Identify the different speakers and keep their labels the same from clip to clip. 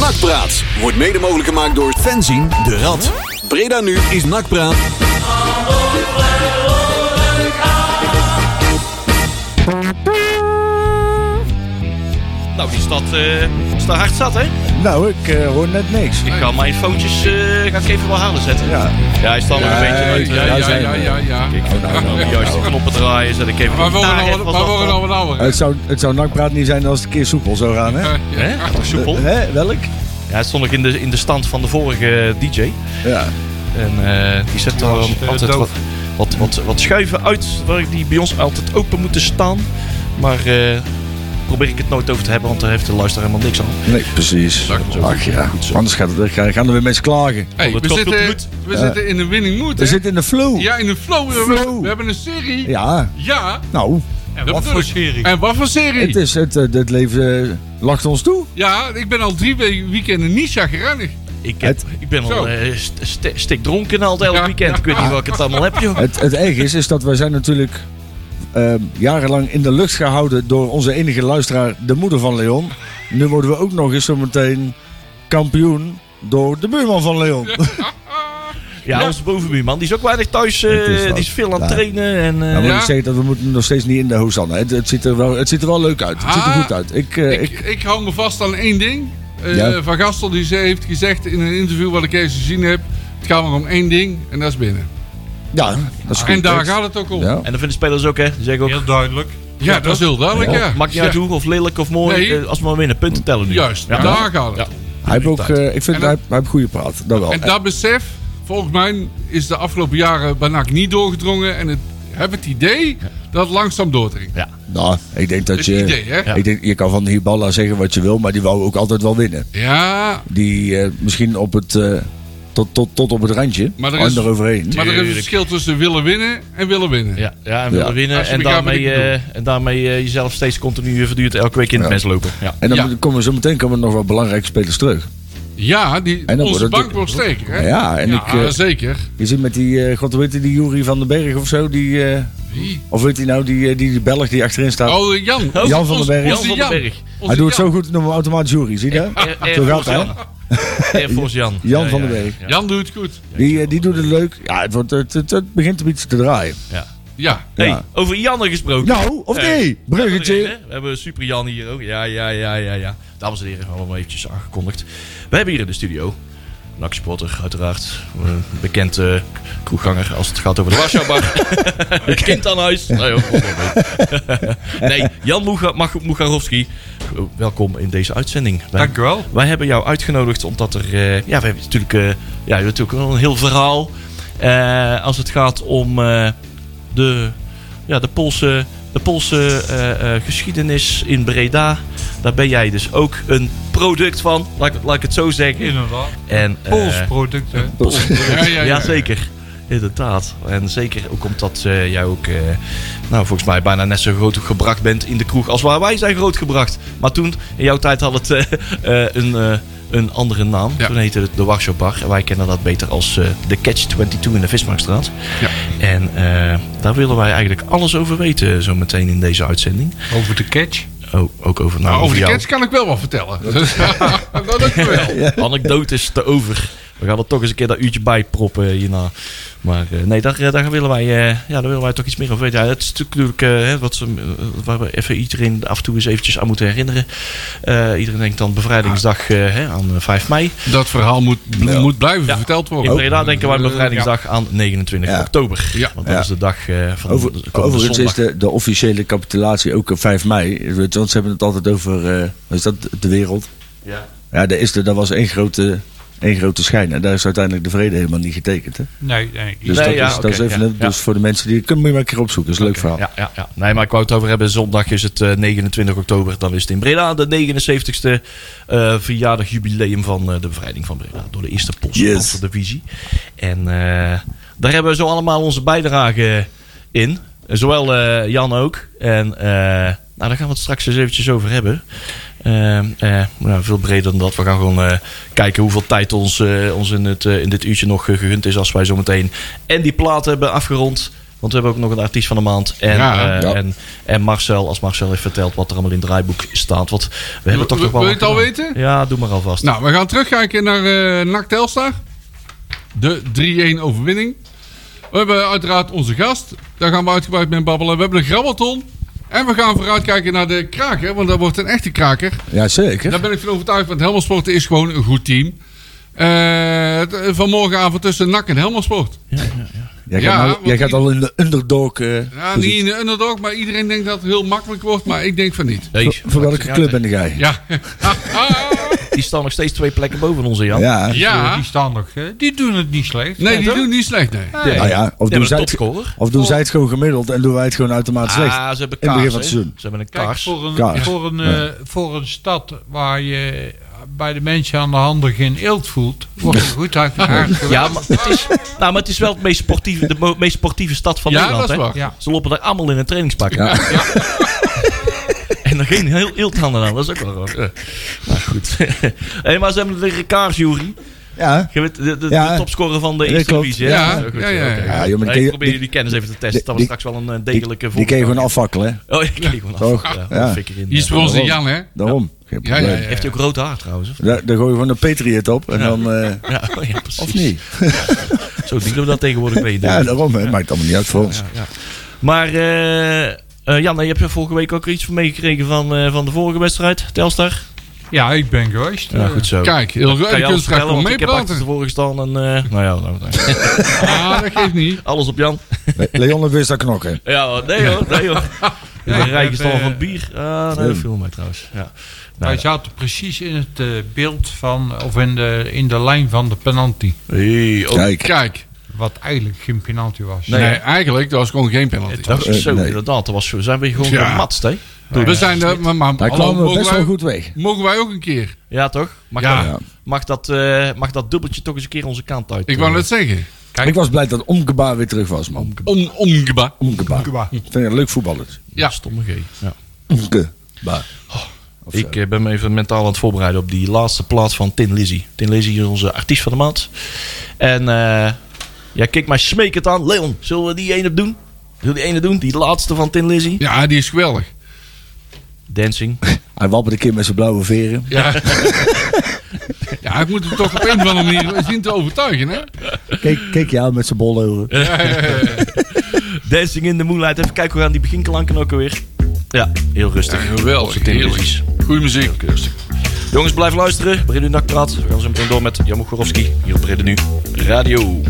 Speaker 1: Nakpraat wordt mede mogelijk gemaakt door fanzine de Rad. Breda nu is Nakpraat.
Speaker 2: Nou, die stad eh, staat hard zat, hè?
Speaker 3: Nou, ik eh, hoor net niks.
Speaker 2: Ik ga mijn foontjes eh, ga ik even wel halen zetten. Ja,
Speaker 3: Ja,
Speaker 2: hij staat nog een beetje uit.
Speaker 3: ja,
Speaker 2: eh,
Speaker 3: ja,
Speaker 4: ja,
Speaker 3: zijn
Speaker 4: ja,
Speaker 3: we.
Speaker 4: ja, ja.
Speaker 3: nou, nou, nou, nou.
Speaker 2: Juist de knoppen draaien, zet ik even
Speaker 4: Maar
Speaker 2: de
Speaker 4: we
Speaker 2: gitaar
Speaker 4: worden
Speaker 2: even
Speaker 4: al,
Speaker 2: wat
Speaker 4: maar we worden
Speaker 2: achter.
Speaker 4: al wat ouder.
Speaker 3: Het zou, het zou nakpraat niet zijn als het een keer soepel zou gaan, Eh? hè?
Speaker 4: Ja.
Speaker 2: Hè? Achter soepel.
Speaker 3: Eh, hè? Welk?
Speaker 2: Ja, het stond nog in de, in de stand van de vorige DJ.
Speaker 3: Ja.
Speaker 2: En eh, die zet daar
Speaker 5: was, eh,
Speaker 2: altijd
Speaker 5: doof.
Speaker 2: wat, wat, wat, wat schuiven uit, waar die bij ons altijd open moeten staan. Maar eh, probeer ik het nooit over te hebben, want daar heeft de luisteraar helemaal niks aan.
Speaker 3: Nee, precies. Ach ja, anders gaat het, gaan gaan er weer mensen klagen.
Speaker 4: Hey,
Speaker 2: het
Speaker 4: we
Speaker 2: komt op
Speaker 4: zitten,
Speaker 2: bloed.
Speaker 4: we zitten in een winning mood, hè?
Speaker 3: We zitten in de flow.
Speaker 4: Ja, in een flow. We,
Speaker 3: Flow.
Speaker 4: we hebben een serie. Ja.
Speaker 3: Ja, nou,
Speaker 5: En
Speaker 4: Dat
Speaker 5: wat
Speaker 4: bedoel
Speaker 5: voor
Speaker 4: ik.
Speaker 5: serie?
Speaker 4: En wat voor serie?
Speaker 3: het, is, het, eh, het leven eh, lacht ons toe.
Speaker 4: Ja, ik ben al drie we- weekenden niet chagrijnig.
Speaker 2: Ik, heb,
Speaker 3: Het-
Speaker 2: ik ben
Speaker 4: Zo.
Speaker 2: al eh, st- st- stik dronken al het elk
Speaker 4: Ja,
Speaker 2: weekend.
Speaker 4: ja.
Speaker 2: Ik weet niet waar ik het allemaal heb, joh.
Speaker 3: Het, het erg is, is dat wij zijn natuurlijk eh, jarenlang in de lucht gehouden door onze enige luisteraar, de moeder van Leon. Nu worden we ook nog eens zometeen kampioen door de buurman van Leon.
Speaker 2: Ja,
Speaker 4: Ja.
Speaker 2: onze bovenbuurman, die is ook weinig thuis. eh,
Speaker 3: Het is
Speaker 2: die
Speaker 3: dat.
Speaker 2: is veel aan
Speaker 3: Ja.
Speaker 2: het trainen. En, eh,
Speaker 3: Nou moet
Speaker 4: Ja.
Speaker 3: ik zeggen dat we moeten nog steeds niet in de hoes staan. Het, het, ziet er wel, het ziet er wel leuk uit. Het ziet er
Speaker 4: Ah,
Speaker 3: goed uit. Ik, eh,
Speaker 4: Ik,
Speaker 3: ik,
Speaker 4: ik hou me vast aan één ding. Eh,
Speaker 3: Ja.
Speaker 4: Van Gastel die ze heeft gezegd in een interview wat ik eens gezien heb. Het gaat maar om één ding en dat is binnen.
Speaker 3: ja, dat is goed.
Speaker 4: En daar
Speaker 3: tekst.
Speaker 4: gaat het ook om. Ja,
Speaker 3: Ja.
Speaker 2: en dat vinden spelers ook, hè. Die zeggen ook,
Speaker 5: Heel duidelijk.
Speaker 4: dat is heel duidelijk, ja.
Speaker 2: maakt niet uit hoe, of lelijk of mooi.
Speaker 4: Nee.
Speaker 2: eh, als we maar winnen, punten tellen nu.
Speaker 4: Juist,
Speaker 2: Ja.
Speaker 4: daar gaat het.
Speaker 3: Hij heeft ook, eh, ik vind
Speaker 4: En
Speaker 3: hij,
Speaker 4: dat-
Speaker 3: hij heeft goede praat. Dat wel.
Speaker 4: En dat besef, volgens mij, is de afgelopen jaren bij NAC niet doorgedrongen. En het, heb het idee dat het langzaam doordringt.
Speaker 3: Nou, ik denk dat
Speaker 4: Het
Speaker 3: je...
Speaker 4: idee, hè?
Speaker 2: Ja.
Speaker 3: Ik denk, je kan van Hiballa zeggen wat je wil, maar die wou ook altijd wel winnen.
Speaker 4: Ja,
Speaker 3: die eh, misschien op het, eh, tot, tot, tot op het randje
Speaker 4: Maar er
Speaker 3: en
Speaker 4: is-
Speaker 3: eroverheen.
Speaker 4: maar er is een
Speaker 2: Tuurlijk.
Speaker 4: verschil tussen willen winnen en willen winnen.
Speaker 2: Ja, ja, en willen
Speaker 3: Ja.
Speaker 2: winnen.
Speaker 4: Als je
Speaker 2: En
Speaker 4: begrijpt wat
Speaker 2: daarmee,
Speaker 4: ik bedoel.
Speaker 2: eh, en daarmee eh, jezelf steeds continu verduurd elke week in het
Speaker 3: Ja.
Speaker 2: mes lopen. Ja.
Speaker 3: En dan
Speaker 4: Ja.
Speaker 3: komen we zo meteen komen er nog wat belangrijke spelers terug.
Speaker 4: Ja, die,
Speaker 3: En dan
Speaker 4: onze
Speaker 3: wordt het-
Speaker 4: bank wordt sterker. Hè?
Speaker 3: Ja, en ik, eh,
Speaker 4: zeker.
Speaker 3: je ziet met die, eh, god hoe heet die, die Jury van den Berg of zo, die, eh,
Speaker 4: Wie?
Speaker 3: of weet hij nou, die, eh, die, die Belg die achterin staat.
Speaker 4: Oh, eh, Jan.
Speaker 2: Oh,
Speaker 3: Jan van den Berg.
Speaker 2: Jan
Speaker 4: onze
Speaker 2: van den
Speaker 4: Jan.
Speaker 2: Berg.
Speaker 3: hij doet het zo goed, noemen we automatisch Jury, zie je dat?
Speaker 2: Air- Air
Speaker 3: Zo gaat
Speaker 2: Force
Speaker 3: hij.
Speaker 2: Jan. Air Force Jan.
Speaker 3: Jan
Speaker 2: Ja,
Speaker 3: van
Speaker 2: ja,
Speaker 3: den Berg.
Speaker 2: ja.
Speaker 4: Jan doet het goed.
Speaker 3: Die, eh, die doet het leuk. Ja, het, wordt, het, het, het begint een beetje te draaien.
Speaker 4: Ja.
Speaker 2: Hey,
Speaker 3: Ja.
Speaker 2: over Janne gesproken.
Speaker 3: Nou, of
Speaker 2: Eh,
Speaker 3: nee? Bruggetje.
Speaker 2: We hebben Super Jan hier ook. Ja, ja, ja, ja, ja. Dames en heren, allemaal eventjes aangekondigd. We hebben hier in de studio. Nak supporter, uiteraard. Een Bekend eh, kroegganger als het gaat over de Warschaubar. kind aan huis. Nee, hoor, kom maar mee. nee Jan Muga- Mag- Mugarowski. eh, Welkom in deze uitzending. Wij,
Speaker 5: Dank u wel.
Speaker 2: wij hebben jou uitgenodigd omdat er... eh, ja, we hebben natuurlijk, eh, ja, we hebben natuurlijk wel een heel verhaal. eh, als het gaat om eh, de, ja, de Poolse, de Poolse eh, eh, geschiedenis in Breda. Daar ben jij dus ook een product van. Laat, ik- laat ik het zo zeggen.
Speaker 5: Inderdaad.
Speaker 2: En, eh,
Speaker 5: Pools product, hè.
Speaker 4: Ja, ja, ja.
Speaker 2: Jazeker, inderdaad. En zeker ook omdat eh, jij ook, eh, nou volgens mij bijna net zo groot gebracht bent in de kroeg als waar wij zijn grootgebracht. Maar toen, in jouw tijd had het eh, eh, een, eh, een andere naam.
Speaker 4: Ja.
Speaker 2: Toen heette het de Warschau Bar. En wij kennen dat beter als eh, de Catch 22 in de Vismarktstraat.
Speaker 4: Ja.
Speaker 2: En eh, daar willen wij eigenlijk alles over weten zo meteen in deze uitzending.
Speaker 5: Over de catch.
Speaker 2: O- ook over, nou,
Speaker 4: Maar over de
Speaker 2: jou.
Speaker 4: catch kan ik wel wat vertellen. Dat ook wel.
Speaker 2: Anekdotes te over. We gaan er toch eens een keer dat uurtje bij proppen eh, hierna. Maar eh, nee, daar, eh, daar, willen wij, eh, ja, daar willen wij toch iets meer over weten. Ja, het is natuurlijk eh, hè, wat, ze, eh, waar we even iedereen af en toe eens eventjes aan moeten herinneren. Eh, iedereen denkt dan bevrijdingsdag
Speaker 3: Ah.
Speaker 2: eh, hè, aan eh, 5 mei.
Speaker 4: Dat verhaal moet, moet blijven
Speaker 2: Ja.
Speaker 4: verteld worden.
Speaker 2: In Breda denken wij
Speaker 4: Eh,
Speaker 2: bevrijdingsdag aan 29
Speaker 3: Ja.
Speaker 2: oktober.
Speaker 4: Ja.
Speaker 2: Want dat
Speaker 3: Ja.
Speaker 2: is de dag eh, van
Speaker 3: Over,
Speaker 2: de komende
Speaker 3: overigens
Speaker 2: zondag.
Speaker 3: is de, de officiële capitulatie ook eh, 5 mei. Want ze hebben het altijd over, eh, wat is dat, de wereld?
Speaker 2: Ja.
Speaker 3: Ja, daar is de, dat was één grote, één grote schijn. En daar is uiteindelijk de vrede helemaal niet getekend. Hè?
Speaker 5: Nee, nee.
Speaker 3: Dus
Speaker 2: Nee,
Speaker 3: dat,
Speaker 2: ja,
Speaker 3: is, dat is
Speaker 2: oké,
Speaker 3: even
Speaker 2: ja,
Speaker 3: een- dus voor de mensen die... Kun je maar een keer opzoeken. Dat is een leuk verhaal.
Speaker 2: Ja, ja, ja. Nee, maar ik wou het over hebben. Zondag is het eh, 29 oktober. Dan is het in Breda de 79ste eh verjaardag jubileum van eh, de bevrijding van Breda. Door de eerste post
Speaker 3: Yes.
Speaker 2: van de divisie. En eh, daar hebben we zo allemaal onze bijdrage in. Zowel eh, Jan ook. En eh, nou, daar gaan we het straks eens eventjes over hebben. Ehm, eh, nou, veel breder dan dat. We gaan gewoon eh, kijken hoeveel tijd ons, eh, ons in, het, eh, in dit uurtje nog eh, gegund is. Als wij zo meteen en die plaat hebben afgerond. Want we hebben ook nog een artiest van de maand. En,
Speaker 4: Ja.
Speaker 2: eh,
Speaker 3: Ja.
Speaker 2: en, en Marcel, als Marcel heeft verteld wat er allemaal in het draaiboek staat. Want we hebben toch
Speaker 4: Wil-
Speaker 2: nog wel.
Speaker 4: wil je
Speaker 2: wat
Speaker 4: het al
Speaker 2: gedaan.
Speaker 4: weten?
Speaker 2: Ja, doe maar alvast.
Speaker 4: Nou, we gaan terugkijken naar eh NAC Telstar. De 3-1 overwinning. We hebben uiteraard onze gast. Daar gaan we uitgebreid mee babbelen. We hebben de grabbelton. En we gaan vooruitkijken naar de kraker. Want dat wordt een echte kraker.
Speaker 3: Ja, zeker.
Speaker 4: Daar ben ik van overtuigd. Want Helmersport is gewoon een goed team. Eh, t- vanmorgenavond tussen NAC en Helmersport.
Speaker 3: Jij,
Speaker 4: Ja,
Speaker 3: gaat, nou-
Speaker 4: want
Speaker 3: jij gaat
Speaker 4: die-
Speaker 3: al in de underdog. eh,
Speaker 4: Ja,
Speaker 3: dus-
Speaker 4: niet in de underdog. Maar iedereen denkt dat het heel makkelijk wordt. Maar ik denk van niet.
Speaker 2: Nee,
Speaker 3: voor, voor welke club ben jij?
Speaker 4: Ja.
Speaker 2: Die staan nog steeds twee plekken boven onze, Jan.
Speaker 3: Ja.
Speaker 5: Eh,
Speaker 4: ja.
Speaker 5: Die staan nog. eh, Die doen het niet slecht.
Speaker 4: Nee, die
Speaker 2: toch?
Speaker 4: doen niet slecht. Nee.
Speaker 2: Nee.
Speaker 3: Nou ja, of
Speaker 2: Die
Speaker 3: doen,
Speaker 2: hebben
Speaker 3: zij
Speaker 2: een
Speaker 3: het,
Speaker 2: topscorer.
Speaker 3: of doen zij het gewoon gemiddeld en doen wij het gewoon automatisch slecht.
Speaker 2: Ah, ze hebben
Speaker 3: In
Speaker 2: kaars.
Speaker 3: het begin van het
Speaker 2: hè.
Speaker 3: seizoen.
Speaker 2: Ze hebben een
Speaker 5: Kijk,
Speaker 2: kaars.
Speaker 5: voor een,
Speaker 3: Kaars.
Speaker 5: Voor, een, eh, voor een stad waar je bij de mensen aan de handen geen eelt voelt, wordt er goed uit elkaar
Speaker 2: Ja, maar het is, nou, maar het is wel het meest sportieve, de mo- meest sportieve stad van
Speaker 4: Ja,
Speaker 2: Nederland.
Speaker 4: dat is
Speaker 2: hè?
Speaker 4: waar.
Speaker 5: Ja.
Speaker 2: Ze lopen daar allemaal in een trainingspak. En dan geen heel eeltanden aan. Dat is ook wel raar. Ja. Maar goed. Hé, maar ze hebben de kaars, Jury.
Speaker 3: Ja.
Speaker 2: Je weet, de, de,
Speaker 3: Ja.
Speaker 2: de topscorer van de
Speaker 3: Ja,
Speaker 2: Eerste
Speaker 3: klopt.
Speaker 2: Divisie. hè?
Speaker 4: Ja,
Speaker 2: Zo goed,
Speaker 4: ja, ja, ja.
Speaker 2: oké.
Speaker 3: Ja, joh, maar
Speaker 2: Hey,
Speaker 3: die-
Speaker 2: ik probeer
Speaker 3: die-
Speaker 2: jullie kennis even te testen. Dat was
Speaker 3: die-
Speaker 2: straks wel een eh,
Speaker 3: Die,
Speaker 2: degelijke
Speaker 3: die kun je gewoon afvakkelen, hè?
Speaker 2: Oh, ik kreeg gewoon
Speaker 3: Toch?
Speaker 2: af. Ja,
Speaker 3: Ja.
Speaker 2: dat fik ik in,
Speaker 4: Die is
Speaker 2: ja.
Speaker 4: voor ons de Jan, hè?
Speaker 3: Daarom. Geen
Speaker 4: Ja,
Speaker 3: probleem.
Speaker 4: ja, ja.
Speaker 2: Heeft hij ook rood haar trouwens? Of,
Speaker 3: Daar, daar gooi je gewoon een Patriot op en dan. eh,
Speaker 2: ja, oh, ja, precies.
Speaker 3: of niet?
Speaker 2: Zo doen we dat tegenwoordig mee.
Speaker 3: Ja, daarom. Hè. Maakt allemaal niet uit voor ons.
Speaker 2: Maar eh, eh, Jan, je hebt er vorige week ook iets van meegekregen van, eh, van de vorige wedstrijd, Telstar.
Speaker 5: Ja, ik ben geweest. eh.
Speaker 2: zo.
Speaker 4: Kijk, heel
Speaker 2: Kan
Speaker 4: goed. Je
Speaker 2: je
Speaker 4: kunt
Speaker 2: alles
Speaker 4: straks
Speaker 2: vertellen,
Speaker 4: wel
Speaker 2: want ik heb achter
Speaker 4: meepraten.
Speaker 2: tevoren gestaan en... eh, nou ja, nou, nou.
Speaker 5: Nou,
Speaker 4: Ah, dat geeft niet.
Speaker 2: alles op Jan.
Speaker 3: Le- Leon heeft wist dat knokken.
Speaker 2: Ja, hoor. nee hoor, nee hoor. Ja, een rij
Speaker 5: heb,
Speaker 2: gestaan
Speaker 5: eh,
Speaker 2: van bier. Ah, nee, dat viel mij trouwens. Ja. Nou,
Speaker 5: Wij zaten precies in het eh, beeld van, of in de, in de lijn van de penalty.
Speaker 2: hey, oh,
Speaker 3: Kijk.
Speaker 4: Kijk.
Speaker 5: Wat eigenlijk geen penalty was.
Speaker 4: Nee, eigenlijk, dat was gewoon geen penalty.
Speaker 2: dat
Speaker 3: Eh,
Speaker 2: was zo,
Speaker 3: nee.
Speaker 2: inderdaad. Dat was zo. Zijn we gewoon
Speaker 4: Ja.
Speaker 2: gematst, hè?
Speaker 4: We zijn er, maar, maar
Speaker 3: Daar
Speaker 4: hallo,
Speaker 3: kwamen we
Speaker 4: mogen,
Speaker 3: best
Speaker 4: wij,
Speaker 3: wel goed weg.
Speaker 4: mogen wij ook een keer?
Speaker 2: Ja, toch? Mag,
Speaker 4: Ja.
Speaker 2: Dat, mag, dat, eh, mag dat dubbeltje toch eens een keer onze kant uit? eh?
Speaker 4: Ik wou net zeggen.
Speaker 3: Ik was blij dat Omkeba weer terug was, man.
Speaker 4: Om, omgeba.
Speaker 3: Omkeba.
Speaker 5: Omkeba.
Speaker 3: Vind je een leuk voetballer?
Speaker 4: Ja.
Speaker 2: Stomme G. Ja.
Speaker 3: Omkeba. Of
Speaker 2: Ik eh, ben me even mentaal aan het voorbereiden op die laatste plaat van Tin Lizzy. Tin Lizzy is onze artiest van de maand. En eh ja, kijk maar smekend aan. Leon, zullen we die ene doen? Zullen we die ene doen? Die laatste van Tin Lizzy.
Speaker 4: Ja, die is geweldig.
Speaker 2: Dancing.
Speaker 3: Hij wappert een keer met zijn blauwe veren.
Speaker 4: Ja. ja, ik moet hem toch op een of andere manier zien te overtuigen, hè?
Speaker 3: Kijk, kijk jou met zijn bolle ogen.
Speaker 2: Dancing in the Moonlight. Even kijken hoe gaan die beginklanken ook alweer. Ja, heel rustig.
Speaker 4: Geweldig,
Speaker 2: Onze Tin Lizzy's.
Speaker 4: heerlijk. Goeie muziek.
Speaker 2: Jongens, blijf luisteren. Brede Nak praat. We gaan zo meteen door met Jan Mogorowski. Hier op Brede Nu Radio.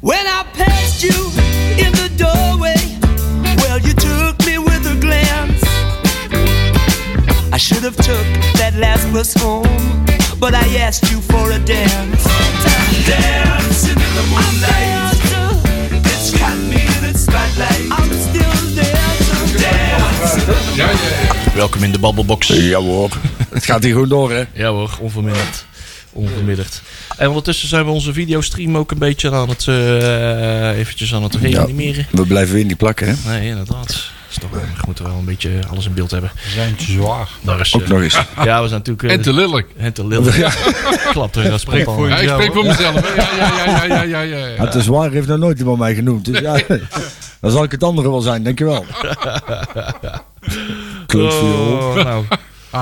Speaker 6: When I passed you in the doorway, well, you took me with a glance. I should have took that last bus home, but I asked you for a dance. Dancing in the moonlight, it's got me in its spotlight. I'm still dancing.
Speaker 4: Ja, ja, ja.
Speaker 2: Welkom in de Babbelbox.
Speaker 3: Ja hoor. Het gaat hier gewoon door, hè?
Speaker 2: Ja hoor, onverminderd. Onverminderd. En ondertussen zijn we onze videostream ook een beetje aan het, eh, eventjes aan het reanimeren.
Speaker 3: We blijven weer niet plakken, hè?
Speaker 2: Nee, inderdaad. Is toch wel- we moeten wel een beetje alles in beeld hebben.
Speaker 5: We zijn te zwaar.
Speaker 2: Daar is,
Speaker 3: Ook
Speaker 2: eh,
Speaker 3: nog eens.
Speaker 2: Ja, we zijn natuurlijk... eh,
Speaker 4: En te lillig.
Speaker 2: en te lil. Klapt er, dat spreekt al.
Speaker 5: voor
Speaker 4: Ja, ik spreek voor mezelf. hè. Ja, ja, ja, ja, ja, ja.
Speaker 3: Ja,
Speaker 4: ja.
Speaker 3: het is waar, heeft nog nooit iemand mij genoemd. Dus ja, dan zal ik het andere wel zijn, dankjewel. Klootviool.
Speaker 2: Oh, nou,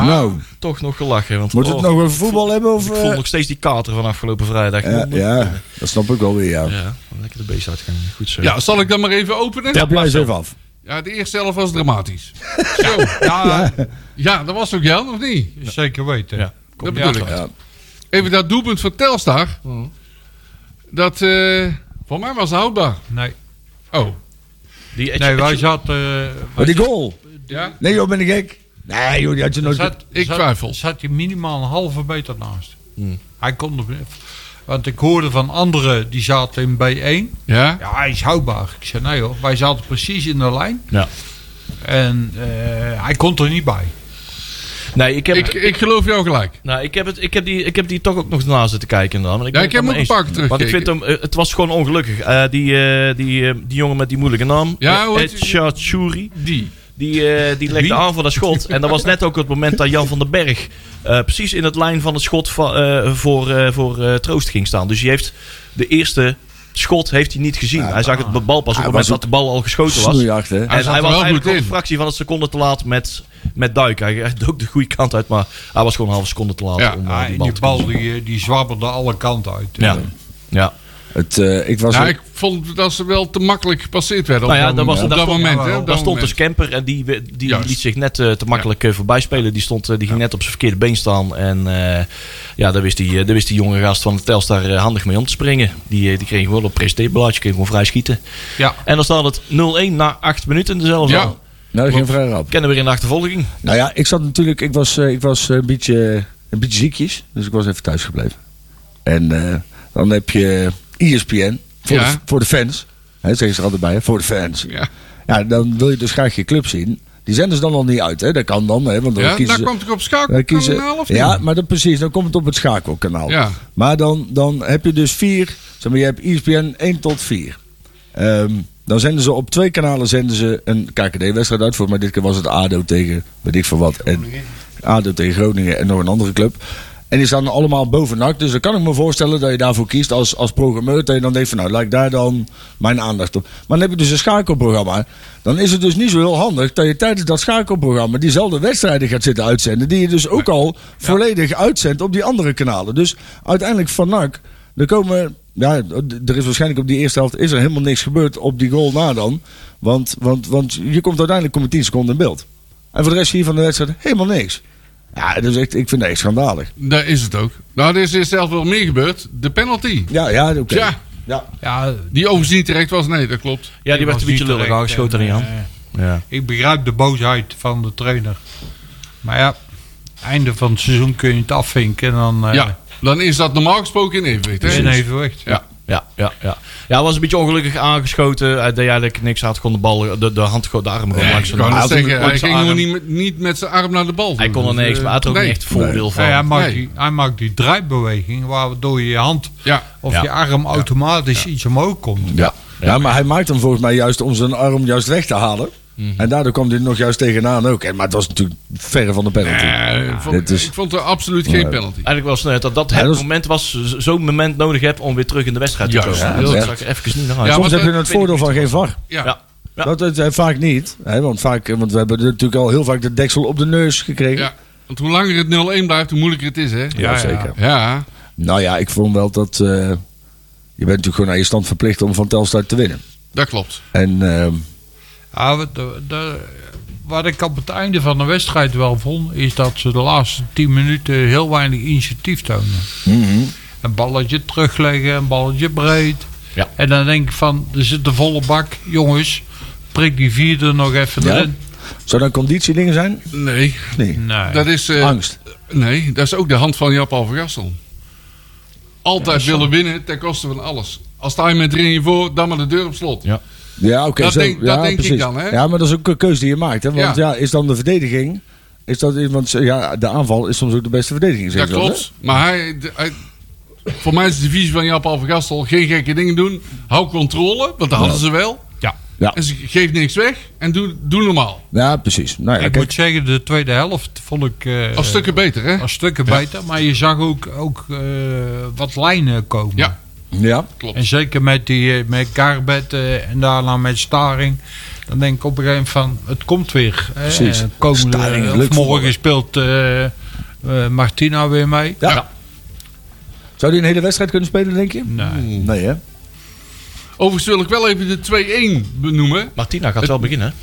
Speaker 3: Nou,
Speaker 2: toch nog gelachen. Want,
Speaker 3: moet het nou-
Speaker 2: oh,
Speaker 3: nog over voetbal hebben? Of,
Speaker 2: Ik voel
Speaker 3: eh?
Speaker 2: nog steeds die kater van afgelopen vrijdag.
Speaker 3: ja, ja, dat snap ik wel weer, ja.
Speaker 2: Ja, lekker de beest uitgaan. Goed zo.
Speaker 4: Ja, zal ik dan maar even openen?
Speaker 3: Trap jij eens even af.
Speaker 4: Ja, de eerste helft was dramatisch. Zo.
Speaker 5: Ja,
Speaker 4: Ja, dat was ook Jan, of niet?
Speaker 5: zeker weten.
Speaker 2: Ja.
Speaker 4: dat bedoel ik.
Speaker 3: Ja.
Speaker 4: Even dat doelpunt van Telstar.
Speaker 2: Mm.
Speaker 4: Dat, eh voor mij was het houdbaar.
Speaker 5: Nee,
Speaker 4: Oh,
Speaker 2: Die
Speaker 5: nee wij zaten... eh,
Speaker 3: Maar Oh, die goal.
Speaker 4: ja?
Speaker 3: Nee joh, ben ik gek? Nee joh, die had je
Speaker 4: Oh,
Speaker 3: nooit...
Speaker 5: Zat,
Speaker 4: Ik
Speaker 5: zat-
Speaker 4: twijfel. Hmm.
Speaker 5: Zat hij minimaal een halve meter naast. Hij kon er... Want ik hoorde van anderen, die zaten in B1.
Speaker 4: Ja?
Speaker 5: Ja, hij is houdbaar. Ik zei, nee hoor, wij zaten precies in de lijn.
Speaker 2: Ja.
Speaker 5: En eh, hij kon er niet bij.
Speaker 2: Nee, ik heb,
Speaker 4: Ik, ik geloof jou gelijk.
Speaker 2: nou, ik, heb het, ik, heb die, ik heb die toch ook nog na zitten kijken. Dan, want
Speaker 4: Ja,
Speaker 2: ben
Speaker 4: ik heb
Speaker 2: het
Speaker 4: hem
Speaker 2: helemaal
Speaker 4: ook een paar keer
Speaker 2: eens. Want ik vind hem, eh, het was gewoon ongelukkig. Eh, die, eh, die, eh, die jongen met die moeilijke naam.
Speaker 4: Ja, hoe heet
Speaker 2: Ed Shatsuri.
Speaker 4: Die.
Speaker 2: Die, eh, die legde aan voor dat schot. En dat was net ook het moment dat Jan van den Berg eh, precies in het lijn van het schot van, eh, voor, eh, voor eh, Troost ging staan. Dus die heeft de eerste schot heeft hij niet gezien. hij zag het bal pas op het
Speaker 3: ah. Hij
Speaker 2: moment
Speaker 3: was
Speaker 2: dat de bal al geschoten was.
Speaker 3: Snoeihard, hè?
Speaker 4: Hij
Speaker 2: En
Speaker 4: zat
Speaker 2: hij
Speaker 4: er
Speaker 2: was
Speaker 4: wel
Speaker 2: eigenlijk
Speaker 4: goed
Speaker 2: een
Speaker 4: in.
Speaker 2: fractie van een seconde te laat met, met duiken. Hij, hij dook de goede kant uit, maar hij was gewoon een halve seconde te laat
Speaker 4: Ja.
Speaker 2: om eh,
Speaker 5: Ja,
Speaker 2: die
Speaker 5: en
Speaker 2: bal
Speaker 5: die
Speaker 2: te
Speaker 5: bal
Speaker 2: kiezen.
Speaker 5: die, eh, die zwabberde alle kanten uit.
Speaker 2: Ja. ja.
Speaker 3: Het, eh, ik was
Speaker 4: Ja,
Speaker 3: ook-
Speaker 4: ik vond dat ze wel te makkelijk gepasseerd werden op
Speaker 2: Nou ja,
Speaker 4: dat
Speaker 2: daar was,
Speaker 4: moment. Op
Speaker 2: daar
Speaker 4: dat
Speaker 2: stond,
Speaker 4: moment,
Speaker 2: daar
Speaker 4: hè, op dat
Speaker 2: stond dus
Speaker 4: moment.
Speaker 2: Kemper en die, we- die
Speaker 4: Juist.
Speaker 2: liet zich net eh, te makkelijk eh, voorbij spelen. Die, stond, eh, die ging net op zijn verkeerde been staan. En eh, ja, daar wist, die, eh, daar wist die jonge gast van de Telstar eh, handig mee om te springen. Die, eh, die kreeg gewoon op presteerblaadje, kreeg gewoon vrij schieten.
Speaker 5: Ja.
Speaker 2: En dan staat het 0-1 na 8 minuten dezelfde.
Speaker 4: Ja.
Speaker 2: Ja.
Speaker 3: nou, dat ging vrij rap.
Speaker 2: Kennen we weer in de achtervolging.
Speaker 3: Nou ja, ik zat natuurlijk, ik was, eh, ik was eh, een, beetje, een beetje ziekjes, dus ik was even thuis gebleven. En eh, dan heb je E ESPN voor,
Speaker 4: Ja.
Speaker 3: de, voor de fans. Hè, zeggen ze er altijd bij, hè, voor de fans. Ja.
Speaker 4: Ja,
Speaker 3: dan wil je dus graag je club zien. Die zenden ze dan al niet uit, hè? Dat kan dan, hè? Want dan
Speaker 4: ja
Speaker 3: kiezen
Speaker 4: daar
Speaker 3: ze-
Speaker 4: kwam ik op
Speaker 3: dan kiezen,
Speaker 4: schakelkanaal of niet?
Speaker 3: ja, maar dan precies, dan komt het op het schakelkanaal.
Speaker 4: Ja.
Speaker 3: Maar dan, dan heb je dus vier, zeg maar, je hebt E ESPN 1 tot 4. Ehm, dan zenden ze op twee kanalen zenden ze een KKD-wedstrijd uit. Voor mij dit keer was het ADO tegen, weet ik voor wat. En ADO tegen Groningen en nog een andere club. En die staan allemaal boven NAC. Dus dan kan ik me voorstellen dat je daarvoor kiest als, als programmeur. Dat je dan denkt van nou, laat ik daar dan mijn aandacht op. Maar dan heb je dus een schakelprogramma. Dan is het dus niet zo heel handig dat je tijdens dat schakelprogramma diezelfde wedstrijden gaat zitten uitzenden. Die je dus ook al volledig uitzendt op die andere kanalen. Dus uiteindelijk van NAC, er komen... Ja, d- er is waarschijnlijk op die eerste helft is er helemaal niks gebeurd op die goal na dan. Want, want, want je komt uiteindelijk kom je 10 seconden in beeld. En voor de rest hier van de wedstrijd helemaal niks. Ja, dus echt, ik vind dat echt schandalig.
Speaker 4: Daar is het ook. Nou, er is eerst zelf wel meer gebeurd. De penalty.
Speaker 3: Ja, ja, oké.
Speaker 4: Ja.
Speaker 3: Ja.
Speaker 5: Ja,
Speaker 4: Die overigens niet terecht was. Nee, dat klopt.
Speaker 2: Ja, die
Speaker 5: was
Speaker 2: werd een beetje
Speaker 5: niet
Speaker 2: lullig
Speaker 5: terecht.
Speaker 2: aangeschoten aan
Speaker 5: En,
Speaker 2: Jan.
Speaker 5: eh,
Speaker 2: Ja.
Speaker 5: Ik begrijp de boosheid van de trainer. Maar ja, einde van het seizoen kun je het afvinken en dan eh
Speaker 4: Ja, dan is dat normaal gesproken in evenwicht. hè?
Speaker 5: in evenwicht.
Speaker 4: Ja.
Speaker 2: Ja, ja, ja. Ja, hij was een beetje ongelukkig aangeschoten. eh, Hij deed eigenlijk niks. Hij had gewoon de bal, de, de hand, gewoon de arm gewoon
Speaker 4: Ja,
Speaker 2: langs
Speaker 4: ik
Speaker 2: zijn
Speaker 4: wou net
Speaker 2: arm.
Speaker 4: zeggen, hij
Speaker 2: Langs zijn
Speaker 4: ging
Speaker 2: arm.
Speaker 4: gewoon niet, met- niet met zijn arm naar de bal.
Speaker 2: Hij
Speaker 4: toe.
Speaker 2: kon er
Speaker 4: Dus,
Speaker 2: niks,
Speaker 4: eh,
Speaker 2: maar hij had er ook
Speaker 4: nee.
Speaker 2: niet echt voordeel van.
Speaker 5: Ja, hij, maakt
Speaker 4: Nee.
Speaker 5: die, hij maakt die draaibeweging waardoor je hand
Speaker 4: Ja.
Speaker 5: of
Speaker 2: Ja.
Speaker 5: je arm automatisch iets omhoog komt.
Speaker 3: Ja. maar hij maakt hem volgens mij juist om zijn arm juist weg te halen. En daardoor kwam hij er nog juist tegenaan ook. En, maar het was natuurlijk verre van de penalty.
Speaker 4: Nee, Eh, ik vond-
Speaker 3: dit is-
Speaker 4: Ik vond er absoluut geen
Speaker 3: Nee.
Speaker 4: penalty.
Speaker 2: Eigenlijk wel sneu dat dat
Speaker 3: Ja,
Speaker 2: het
Speaker 3: dat is-
Speaker 2: moment was, z- zo'n moment nodig heb om weer terug in de wedstrijd te
Speaker 4: Juist.
Speaker 2: komen.
Speaker 4: Ja,
Speaker 2: dat
Speaker 3: dat
Speaker 2: zag ik even niet naar uit.
Speaker 4: Ja,
Speaker 3: Soms
Speaker 4: maar
Speaker 3: heb je
Speaker 4: dat-
Speaker 3: het voordeel van geen var.
Speaker 2: Ja.
Speaker 4: eh, Ja.
Speaker 2: Ja.
Speaker 3: Dat, dat, eh, vaak niet. Hè, want, vaak, eh, want we hebben natuurlijk al heel vaak de deksel op de neus gekregen.
Speaker 4: ja. Want hoe langer het 0-1 blijft, hoe moeilijker het is, hè?
Speaker 3: Ja, zeker.
Speaker 4: Ja.
Speaker 3: Nou ja, ik vond wel dat... eh, je bent natuurlijk gewoon aan je stand verplicht om van Telstar te winnen.
Speaker 4: dat klopt.
Speaker 3: En ehm,
Speaker 5: Ja, wat, de- de- wat ik op het einde van de wedstrijd wel vond, is dat ze de laatste 10 minuten heel weinig initiatief toonden.
Speaker 3: mhm.
Speaker 5: Een balletje terugleggen, een balletje breed.
Speaker 2: Ja.
Speaker 5: En dan denk ik van, er zit de volle bak, jongens, prik die vierde nog even
Speaker 3: Ja?
Speaker 5: erin.
Speaker 3: zou dat conditiedingen zijn?
Speaker 4: Nee.
Speaker 3: Nee.
Speaker 5: Nee.
Speaker 4: Dat is, eh,
Speaker 3: Angst.
Speaker 4: Nee, dat is ook de hand van Jap Alvergassel. Altijd willen winnen ten koste van alles. Als sta je met 3 voor, dan maar de deur op slot.
Speaker 2: Ja.
Speaker 3: Ja, oké.
Speaker 4: Dat
Speaker 3: zo-
Speaker 4: denk- dat
Speaker 3: ja,
Speaker 4: denk ik
Speaker 3: precies.
Speaker 4: dan, hè?
Speaker 3: Ja, maar dat is ook een keuze die je maakt. Hè? Want ja.
Speaker 4: Ja.
Speaker 3: is dan de verdediging... Is dat, want ja, de aanval is soms ook de beste verdediging.
Speaker 4: Dat
Speaker 3: zeggen ze
Speaker 4: klopt. Maar hij, de- hij- voor mij is de divisie van Jap Alvergassel geen gekke dingen doen. Hou controle, want dat hadden ze wel.
Speaker 5: Ja.
Speaker 3: Ja.
Speaker 4: En ze geef niks weg en doe, doe normaal.
Speaker 3: wel, hè? Ja, precies. Nou, ja,
Speaker 5: ik
Speaker 3: kijk,
Speaker 5: moet zeggen, de tweede helft vond ik eh
Speaker 4: Als stukken beter, hè?
Speaker 5: als stukken beter. Maar je zag ook, ook eh, wat lijnen komen.
Speaker 4: Ja.
Speaker 3: ja.
Speaker 5: En zeker met, die, eh, met Garbet eh, en daarna met Staring. Dan denk ik op een gegeven moment van, het komt weer. hè.
Speaker 3: Precies.
Speaker 5: En Komende,
Speaker 3: Staring is
Speaker 5: of
Speaker 3: leuk voetballer.
Speaker 5: morgen speelt eh, eh, Martina weer mee.
Speaker 3: Ja.
Speaker 4: Ja.
Speaker 3: Zou die een hele wedstrijd kunnen spelen, denk je?
Speaker 5: Nee.
Speaker 3: Nee, hè?
Speaker 4: Overigens wil ik wel even de 2-1 benoemen.
Speaker 2: Martina gaat wel beginnen.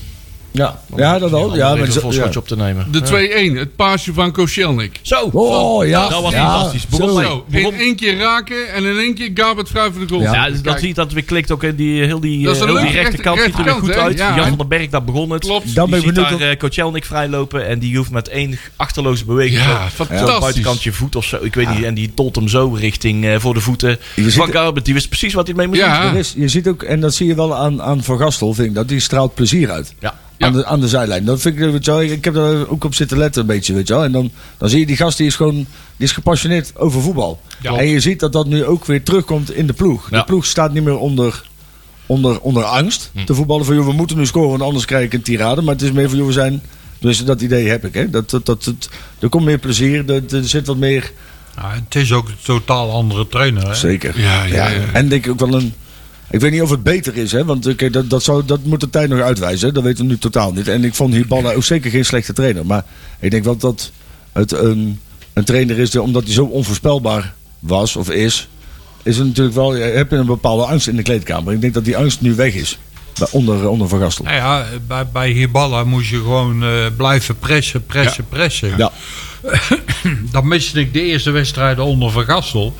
Speaker 3: Ja, ja dat al.
Speaker 2: Om
Speaker 3: Ja, maar
Speaker 2: even een
Speaker 3: zo-
Speaker 2: vol
Speaker 3: ja.
Speaker 2: schotje op te nemen.
Speaker 4: De 2-1, het paasje van Koscielnik.
Speaker 2: Zo!
Speaker 3: Oh, ja.
Speaker 2: Dat was
Speaker 3: ja,
Speaker 2: fantastisch. Begon
Speaker 3: zo.
Speaker 2: mee.
Speaker 4: Zo, in één keer raken en in één keer Gabert vrij voor de goal.
Speaker 2: Ja, dus
Speaker 3: Ja,
Speaker 2: dat
Speaker 4: Kijk,
Speaker 2: zie je dat weer klikt ook in die, heel die,
Speaker 4: Dat is
Speaker 2: eh,
Speaker 4: een
Speaker 2: heel die
Speaker 4: leuke
Speaker 2: rechterkant
Speaker 4: rechter-
Speaker 2: ziet er weer goed
Speaker 4: rechterkant,
Speaker 2: uit.
Speaker 4: hè? Ja.
Speaker 2: Jan van den Berg, daar begon het.
Speaker 4: Klopt.
Speaker 3: Dan ben
Speaker 2: je
Speaker 3: ik
Speaker 2: ziet
Speaker 3: benieuwd
Speaker 2: daar eh, Kocelnik vrij lopen en die hoeft met één achterloze beweging
Speaker 4: Ja,
Speaker 2: zo-
Speaker 4: fantastisch.
Speaker 2: zo buitenkant je voet of zo, ik weet niet, en die tolt hem zo richting eh, voor de voeten.
Speaker 3: Je
Speaker 2: Van
Speaker 3: ziet-
Speaker 2: Garbert, die wist precies wat hij mee moest doen.
Speaker 4: Ja,
Speaker 3: Er is, je ziet ook, en dat zie je wel aan, aan Van Gastel, vind ik dat. Die straalt plezier uit.
Speaker 2: Ja.
Speaker 4: Ja.
Speaker 3: Aan, de, aan de zijlijn. Dat vind ik, weet je wel, ik heb daar ook op zitten letten een beetje, weet je wel. En dan, dan zie je die gast, die is gewoon die is gepassioneerd over voetbal.
Speaker 5: Ja.
Speaker 3: En je ziet dat dat nu ook weer terugkomt in de ploeg.
Speaker 2: Ja.
Speaker 3: De ploeg staat niet meer onder, onder, onder angst te voetballen. Van joh, we moeten nu scoren, want anders krijg ik een tirade. Maar het is meer van joh, we zijn. Dus dat idee heb ik. Hè. Dat, dat, dat, dat- er komt meer plezier, dat, er zit wat meer.
Speaker 5: Ja, het is ook een totaal andere trainer. Hè?
Speaker 3: Zeker.
Speaker 4: Ja, ja, ja.
Speaker 3: En denk ik ook wel een. Ik weet niet of het beter is, hè? want eh, kijk, dat, dat, zou, dat moet de tijd nog uitwijzen. Hè? Dat weten we nu totaal niet. En ik vond Hiballa ook zeker geen slechte trainer. Maar ik denk wel dat het een, een trainer is, die, omdat hij zo onvoorspelbaar was of is. Is het natuurlijk wel, eh, heb je een bepaalde angst in de kleedkamer. Ik denk dat die angst nu weg is. Bij- Onder, onder Van Gastel.
Speaker 5: Nou ja, bij, bij Hiballa moest je gewoon eh, blijven pressen, pressen, pressen.
Speaker 3: Ja.
Speaker 5: Dat miste ik de eerste wedstrijden onder Van Gastel.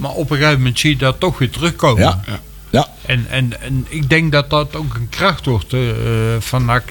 Speaker 5: Maar op een gegeven moment zie je dat toch weer terugkomen.
Speaker 3: Mhm. Ja. Ja.
Speaker 5: En, en, en ik denk dat dat ook een kracht wordt eh, van NAC.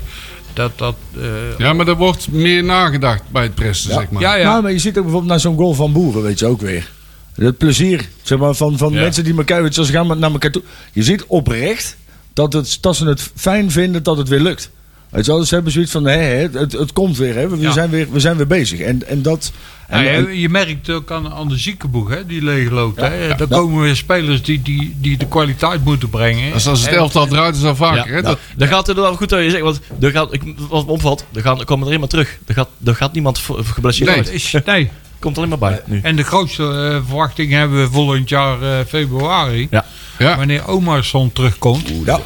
Speaker 5: Dat dat... eh,
Speaker 4: Ja, maar er wordt meer nagedacht bij het pressen, zeg maar.
Speaker 5: ja, Ah, ja.
Speaker 3: Nou, maar je ziet ook bijvoorbeeld naar zo'n goal van Boeren, weet je ook weer. Het plezier zeg maar, van, van
Speaker 2: Ja.
Speaker 3: mensen die elkaar, weet je, ze gaan naar elkaar toe. Je ziet oprecht dat, het, dat ze het fijn vinden dat het weer lukt. Weet je wel, ze hebben zoiets van, hé, hé, het, het komt weer, hè. We, we
Speaker 5: Ja.
Speaker 3: zijn weer, we zijn weer bezig. En, en dat... En,
Speaker 5: Nou ja,
Speaker 3: en-
Speaker 5: je merkt ook aan, aan de ziekenboeg, hè, die leegloopt. hè. Daar komen weer spelers die, die, die de kwaliteit moeten brengen.
Speaker 4: Dat is als het
Speaker 5: En-
Speaker 4: elftal eruit is, dan vaker. hè?
Speaker 2: Ja,
Speaker 4: Dat,
Speaker 2: dat gaat inderdaad goed dat je zegt, want er gaat, ik, wat me opvalt, er, gaan, er komen er helemaal terug. Er gaat, er gaat niemand voor- geblesseerd
Speaker 4: Nee.
Speaker 2: uit.
Speaker 5: Is, nee.
Speaker 2: Komt er alleen maar bij nu.
Speaker 5: En de grootste eh, verwachting hebben we volgend jaar eh, februari.
Speaker 2: Ja.
Speaker 4: ja.
Speaker 5: Wanneer Omarsson terugkomt.
Speaker 3: ja,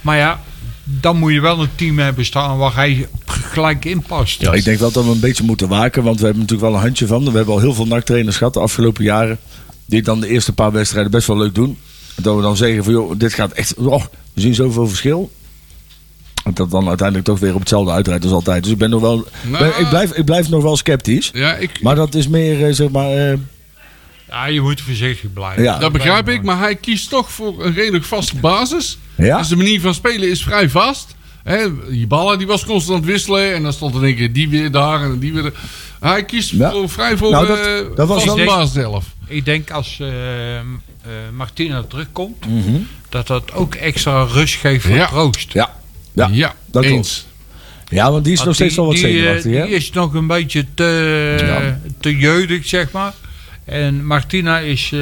Speaker 5: Maar ja, dan moet je wel een team hebben staan waar hij gelijk in past.
Speaker 2: Ja.
Speaker 3: ik denk wel dat we een beetje moeten waken, want we hebben natuurlijk wel een handje van. We hebben al heel veel NAC-trainers gehad de afgelopen jaren, die dan de eerste paar wedstrijden best wel leuk doen. Dat we dan zeggen van, joh, dit gaat echt... Oh, we zien zoveel verschil. Dat dat dan uiteindelijk toch weer op hetzelfde uitrijdt als altijd. Dus ik ben nog wel.
Speaker 4: Nou.
Speaker 3: ben- ik, blijf, ik blijf nog wel sceptisch.
Speaker 4: Ja, ik,
Speaker 3: Maar dat is meer, eh, zeg maar. eh,
Speaker 5: Ja, je moet voorzichtig blijven.
Speaker 3: Ja.
Speaker 4: dat begrijp ik. Maar hij kiest toch voor een redelijk vaste basis.
Speaker 3: Ja.
Speaker 4: Dus de manier van spelen is vrij vast. Hè, die ballen die was constant wisselen. En dan stond in één keer die weer daar en die weer daar. Hij kiest
Speaker 3: Ja.
Speaker 4: voor, vrij voor
Speaker 3: Nou,
Speaker 4: nou,
Speaker 3: dat- dat was
Speaker 4: vaste
Speaker 5: wel-
Speaker 4: basis zelf.
Speaker 5: Ik denk als eh, eh, Martina terugkomt,
Speaker 3: Mhm.
Speaker 5: dat dat ook extra rust geeft voor
Speaker 4: Ja.
Speaker 5: troost.
Speaker 3: ja.
Speaker 4: Ja,
Speaker 3: Ja, dat
Speaker 4: eens.
Speaker 3: klopt. Ja, want die is nog
Speaker 5: Want
Speaker 3: steeds wel wat
Speaker 5: die, eh,
Speaker 3: zenuwachtig, hè?
Speaker 5: Die is nog een beetje te, te jeudig, zeg maar. En Martina is eh,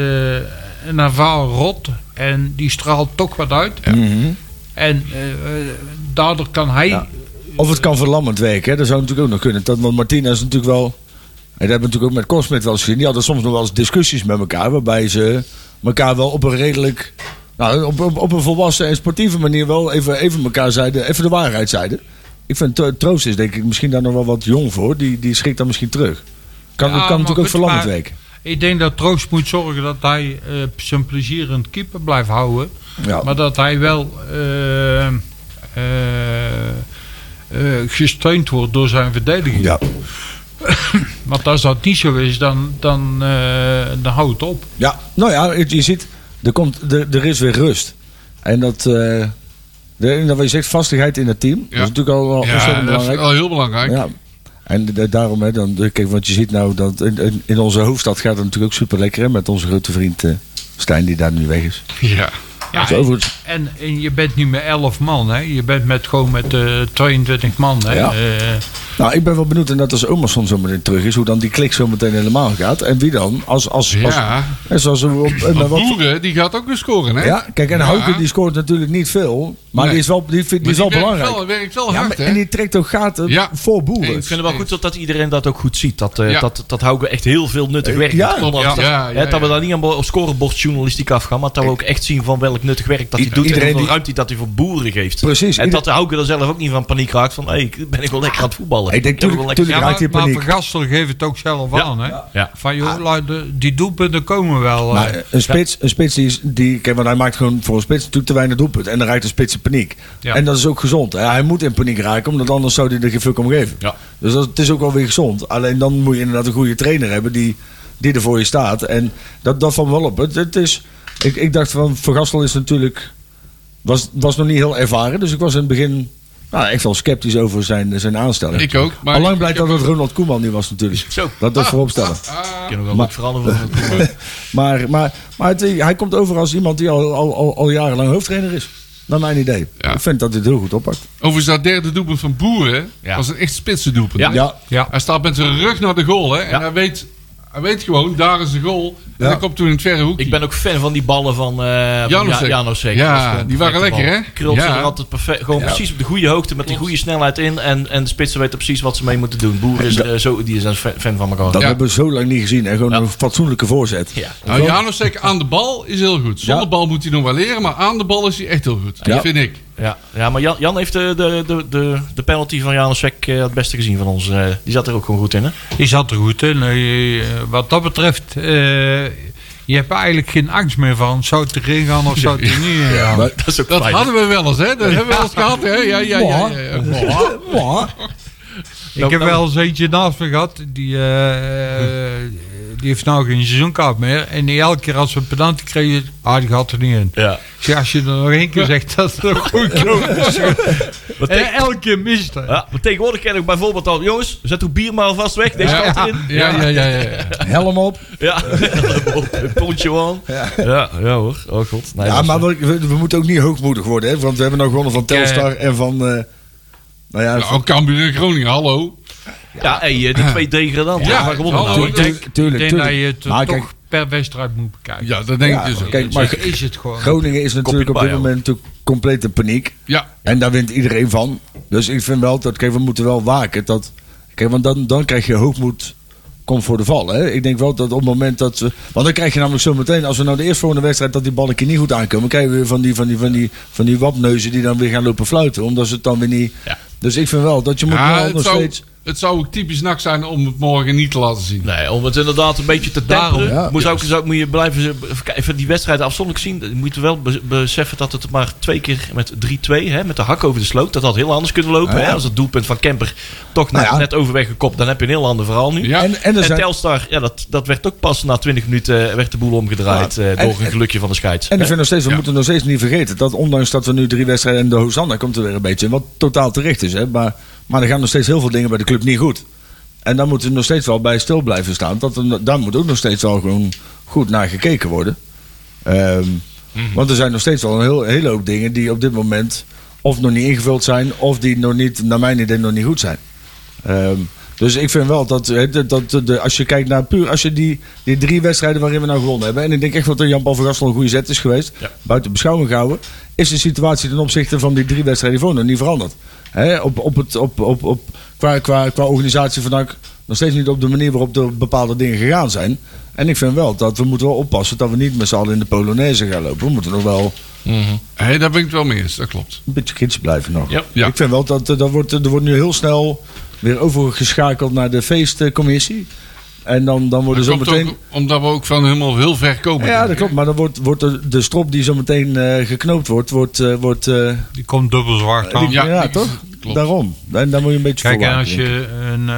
Speaker 5: een ervaren rot. En die straalt toch wat uit. En eh, eh, daardoor kan hij...
Speaker 3: Mhm. Ja. Of het kan verlammend werken, hè? dat zou natuurlijk ook nog kunnen. Dat, want Martina is natuurlijk wel. En dat hebben we natuurlijk ook met Cosmet wel eens gezien. Die hadden soms nog wel eens discussies met elkaar. Waarbij ze elkaar wel op een redelijk. Nou, op, op, op een volwassen en sportieve manier wel even, even elkaar zeiden. Even de waarheid zeiden. Ik vind Tro- Troost is denk ik misschien daar nog wel wat jong voor. Die, die schrikt dan misschien terug. Kan,
Speaker 5: Ja,
Speaker 3: dat kan
Speaker 5: maar
Speaker 3: natuurlijk ook
Speaker 5: goed,
Speaker 3: verlammend
Speaker 5: maar-
Speaker 3: werken.
Speaker 5: Ik denk dat Troost moet zorgen dat hij eh, zijn plezier in het keeper blijft houden.
Speaker 3: Ja.
Speaker 5: Maar dat hij wel eh, eh, eh, gesteund wordt door zijn verdediging.
Speaker 3: Ja.
Speaker 5: Want als dat niet zo is, dan, dan, eh, dan houdt het op.
Speaker 3: Ja, nou ja, het- je ziet, er, komt, er, er is weer rust. En dat, eh de, en dat wat je zegt, vastigheid in het team. Dat is natuurlijk al, al
Speaker 4: Ja,
Speaker 3: ontzettend
Speaker 4: dat is
Speaker 3: belangrijk.
Speaker 4: wel heel belangrijk.
Speaker 3: Ja. En da- daarom, hè, dan, eh, kijk, want je ziet nou dat in- in, in onze hoofdstad gaat het natuurlijk ook super lekker met onze grote vriend eh, Stijn, die daar nu weg is.
Speaker 4: Ja.
Speaker 5: Ja,
Speaker 3: Dat is overigens-
Speaker 5: En, en je bent niet meer 11 man, hè? je bent met, gewoon met eh 22 man. Hè?
Speaker 3: Ja.
Speaker 5: Eh,
Speaker 3: Nou, ik ben wel benieuwd, en dat als Omerson zo meteen terug is, hoe dan die klik zo meteen helemaal gaat. En wie dan? Als, als, als,
Speaker 4: Ja.
Speaker 3: hè, zoals we op, eh,
Speaker 4: Want
Speaker 3: met wat-
Speaker 4: Boeren, die gaat ook weer scoren, hè?
Speaker 3: ja, kijk, en
Speaker 4: Ja.
Speaker 3: Hauke die scoort natuurlijk niet veel, maar
Speaker 4: Nee.
Speaker 3: die is wel, die, vind- die
Speaker 4: Maar
Speaker 3: is wel
Speaker 4: werkt
Speaker 3: belangrijk.
Speaker 4: Wel, werkt wel
Speaker 3: Ja,
Speaker 4: hard,
Speaker 3: maar,
Speaker 4: hè?
Speaker 3: en die trekt ook gaten
Speaker 4: Ja.
Speaker 3: voor boeren.
Speaker 2: Ik vind het wel goed dat, dat iedereen dat ook goed ziet. Dat, eh
Speaker 4: Ja.
Speaker 2: dat, dat Hauke echt heel veel nuttig werk
Speaker 3: Ja.
Speaker 2: doet. Zonder
Speaker 4: Ja,
Speaker 2: dat-
Speaker 4: ja, ja,
Speaker 2: hè, dat we
Speaker 4: ja.
Speaker 2: daar niet aan bo- op scorebordjournalistiek afgaan. Maar dat we ook echt zien van welk nuttig werk dat hij
Speaker 3: I-
Speaker 2: doet.
Speaker 3: iedereen
Speaker 2: en hoeveel
Speaker 3: die-
Speaker 2: ruimte dat hij voor boeren geeft.
Speaker 3: Precies.
Speaker 2: En dat de Hauke er zelf ook niet van paniek raakt. Van, hé, hey, ben ik wel lekker aan het voetballen.
Speaker 3: Ik denk,
Speaker 2: ben wel
Speaker 3: tuurlijk-
Speaker 2: lekker-
Speaker 5: ja,
Speaker 3: raakt
Speaker 5: maar,
Speaker 3: in
Speaker 5: maar
Speaker 3: paniek. Ah.
Speaker 5: Van Gastel geeft het ook zelf
Speaker 2: Ja.
Speaker 5: aan. Hè?
Speaker 2: Ja.
Speaker 5: Van joh, lui, de- die doelpunten komen wel.
Speaker 3: Maar
Speaker 5: eh.
Speaker 3: een spits, een spits die, is- die kijk, want hij maakt gewoon voor een spits natuurlijk te weinig doelpunt. En dan raakt de spits in paniek.
Speaker 5: Ja.
Speaker 3: En dat is ook gezond. hè. Hij moet in paniek raken, omdat anders zou hij er geen fuck om geven.
Speaker 2: Ja.
Speaker 3: Dus dat, het is ook wel weer gezond. Alleen dan moet je inderdaad een goede trainer hebben die, die er voor je staat. En dat, dat van wel op. Het, het is, ik, ik dacht van, Van Gastel is natuurlijk, was, was nog niet heel ervaren. Dus ik was in het begin nou, echt wel sceptisch over zijn, zijn aanstelling.
Speaker 4: Ik ook, maar-
Speaker 3: Allang blijkt dat het Ronald Koeman nu was natuurlijk.
Speaker 2: Zo.
Speaker 3: Dat dat voorop stellen.
Speaker 2: Kunnen we wel goed veranderen. van-
Speaker 3: Maar, maar, maar het- hij komt over als iemand die al, al, al, al jarenlang hoofdtrainer is. Naar mijn idee.
Speaker 4: Ja.
Speaker 3: Ik vind dat dit heel goed oppakt.
Speaker 4: Overigens, dat derde doelpunt van Boeren
Speaker 2: Ja.
Speaker 4: was een echt spitse doelpunt.
Speaker 2: Ja.
Speaker 4: hè?
Speaker 3: Ja.
Speaker 5: ja.
Speaker 4: Hij staat met zijn rug naar de goal, hè? En hij weet, Hij weet gewoon, daar is de goal. En
Speaker 3: Ja.
Speaker 4: dan komt toen in het verre hoekje.
Speaker 2: Ik ben ook fan van die ballen van eh
Speaker 4: Janusek.
Speaker 2: Ja- Janusek.
Speaker 4: Ja,
Speaker 2: Dat is gewoon
Speaker 4: die waren
Speaker 2: perfecte
Speaker 4: lekker,
Speaker 2: bal.
Speaker 4: hè?
Speaker 2: Krult ze
Speaker 4: Ja.
Speaker 2: er altijd perfect, gewoon precies op de goede hoogte, met die goede snelheid in. En, en de spitsen weten precies wat ze mee moeten doen. Boer is, eh, zo, die is een fan fan van elkaar.
Speaker 3: Dat
Speaker 4: Ja.
Speaker 3: hebben we zo lang niet gezien. En gewoon
Speaker 2: Ja.
Speaker 3: een fatsoenlijke voorzet.
Speaker 2: Ja.
Speaker 4: Nou, Janusek aan de bal is heel goed. Zonder
Speaker 3: Ja.
Speaker 4: bal moet hij nog wel leren, maar aan de bal is hij echt heel goed.
Speaker 3: Ja.
Speaker 4: Dat vind ik.
Speaker 2: Ja, ja maar Jan, Jan heeft de, de, de, de, de penalty van Janusek eh, het beste gezien van ons. eh. die zat er ook gewoon goed in, hè?
Speaker 5: Die zat er goed in. Eh, eh, Wat dat betreft, eh, je hebt eigenlijk geen angst meer van. Zou het erin gaan of zou het er niet in gaan?
Speaker 3: Maar-
Speaker 2: Dat is ook
Speaker 4: Dat
Speaker 2: fijn.
Speaker 4: hadden we wel eens, hè? Dat hebben we wel eens gehad, hè? Ja, ja, ja. ja, ja.
Speaker 3: Mwah. Mwah.
Speaker 5: Ik heb wel eens eentje naast me gehad. Die, eh, eh, die heeft nou geen seizoenkaart meer. En die elke keer als we een penalty kregen, ah, die gaat er niet in.
Speaker 2: Ja.
Speaker 5: Ik zeg, als je er nog één keer zegt, dat is nog goed knoop.
Speaker 2: Wat te-
Speaker 5: En elke keer mist hij.
Speaker 2: ja, maar tegenwoordig ken ik bijvoorbeeld al... Jongens, zet uw bier maar alvast weg. Deze
Speaker 4: Ja.
Speaker 2: staat erin.
Speaker 4: Ja, ja, ja, ja.
Speaker 3: Helm op.
Speaker 2: Ja, een pontje aan. Ja, ja hoor. Oh god. Nee,
Speaker 3: Ja,
Speaker 2: dat is-
Speaker 3: maar we, we- we moeten ook niet hoogmoedig worden. Hè? Want we hebben nou gewonnen van Telstar en van... eh, nou ja, van-
Speaker 4: Nou, Cambuur en Groningen, hallo.
Speaker 2: Ja, hey, eh, die twee degradanten.
Speaker 4: Ja,
Speaker 2: Ja, waar gewonnen
Speaker 4: hallo.
Speaker 2: nou?
Speaker 5: Oh, Ik
Speaker 4: tuurlijk,
Speaker 5: denk, ik
Speaker 3: tuurlijk,
Speaker 5: denk
Speaker 3: tuurlijk.
Speaker 5: dat je het
Speaker 3: Maar
Speaker 5: toch
Speaker 3: kijk-
Speaker 5: per wedstrijd moet bekijken.
Speaker 4: Ja, dat denk ik
Speaker 3: Ja,
Speaker 4: dus ook.
Speaker 3: kijk,
Speaker 5: maar
Speaker 3: maar-
Speaker 5: is het gewoon.
Speaker 3: Groningen is natuurlijk op
Speaker 2: Kopje
Speaker 3: dit
Speaker 2: bij,
Speaker 3: moment natuurlijk complete paniek.
Speaker 4: Ja,
Speaker 3: En daar wint iedereen van. Dus ik vind wel dat... Kijk, we moeten wel waken. Dat, kijk, want dan, dan krijg je hoogmoed... Komt voor de val. Hè? Ik denk wel dat op het moment dat ze. Want dan krijg je namelijk zo meteen. Als we nou de eerstvolgende wedstrijd. dat die ballen een keer niet goed aankomen. krijgen we weer van die, van, die, van, die, van die wapneuzen. die dan weer gaan lopen fluiten. Omdat ze het dan weer niet.
Speaker 2: Ja.
Speaker 3: Dus ik vind wel dat je moet.
Speaker 4: ja
Speaker 3: wel
Speaker 4: het,
Speaker 3: nog
Speaker 4: zou,
Speaker 3: steeds.
Speaker 4: het zou ook typisch nak zijn om het morgen niet te laten zien.
Speaker 2: Nee, om het inderdaad een beetje te temperen.
Speaker 3: Daarom, ja.
Speaker 2: Moet, je ook, zou- moet je blijven even kijken, even die wedstrijd afzonderlijk zien. Je moet wel be- beseffen dat het maar twee keer met 3-2, hè, met de hak over de sloot, dat had heel anders kunnen lopen.
Speaker 3: Ja.
Speaker 2: Hè, als het doelpunt van Kemper toch
Speaker 3: Nou
Speaker 2: net-
Speaker 3: ja.
Speaker 2: net overweg gekopt, dan heb je een heel ander verhaal nu.
Speaker 4: Ja,
Speaker 3: En, en er
Speaker 2: En
Speaker 3: zijn,
Speaker 2: Telstar, ja, dat, dat werd ook pas na 20 minuten eh, werd de boel omgedraaid
Speaker 3: Ja.
Speaker 2: eh, door
Speaker 3: En-
Speaker 2: een gelukje van de scheids.
Speaker 3: En ik vind nog steeds, we
Speaker 4: Ja.
Speaker 3: moeten nog steeds niet vergeten dat ondanks dat we nu drie wedstrijden en de Hosanna komt er weer een beetje in, wat totaal terecht is. Hè? Maar, maar er gaan nog steeds heel veel dingen bij de club niet goed. En daar moeten we nog steeds wel bij stil blijven staan. Dat er, daar moet ook nog steeds wel gewoon goed naar gekeken worden. Ehm,
Speaker 4: Mhm.
Speaker 3: Want er zijn nog steeds wel een heel, hele hoop dingen die op dit moment of nog niet ingevuld zijn, of die nog niet, naar mijn idee, nog niet goed zijn. Ehm, dus ik vind wel dat, hè, dat, dat de, als je kijkt naar puur, als je die, die drie wedstrijden waarin we nou gewonnen hebben, en ik denk echt wel dat Jan-Paul van Gastel een goede zet is geweest,
Speaker 2: Ja.
Speaker 3: buiten beschouwing gehouden, is de situatie ten opzichte van die drie wedstrijden voor nog niet veranderd. Hè, op, op het, op, op, op, qua, qua, qua organisatie van NAC nog steeds niet op de manier waarop er bepaalde dingen gegaan zijn. En ik vind wel dat we moeten wel oppassen dat we niet met z'n allen in de Polonaise gaan lopen. We moeten nog wel
Speaker 4: Hé, daar ben ik het wel mee eens, dat klopt.
Speaker 3: een beetje gids blijven nog.
Speaker 2: Ja.
Speaker 4: Ja.
Speaker 3: Ik vind wel dat eh, dat wordt, er wordt nu heel snel weer overgeschakeld naar de feestcommissie. En dan, dan worden
Speaker 4: Dat komt
Speaker 3: zometeen.
Speaker 4: ook omdat we ook van helemaal heel ver komen.
Speaker 3: Dus Ja, dat klopt. Maar dan wordt, wordt de, de strop die zometeen eh, geknoopt wordt, wordt. eh, wordt eh,
Speaker 5: Die komt dubbel zwaar aan.
Speaker 3: die- ja,
Speaker 4: Ja, die-
Speaker 3: toch?
Speaker 4: klopt.
Speaker 3: Daarom. En daar moet je een beetje
Speaker 5: Kijk,
Speaker 3: voor
Speaker 5: en
Speaker 3: waken,
Speaker 5: als
Speaker 3: denk ik.
Speaker 5: je een,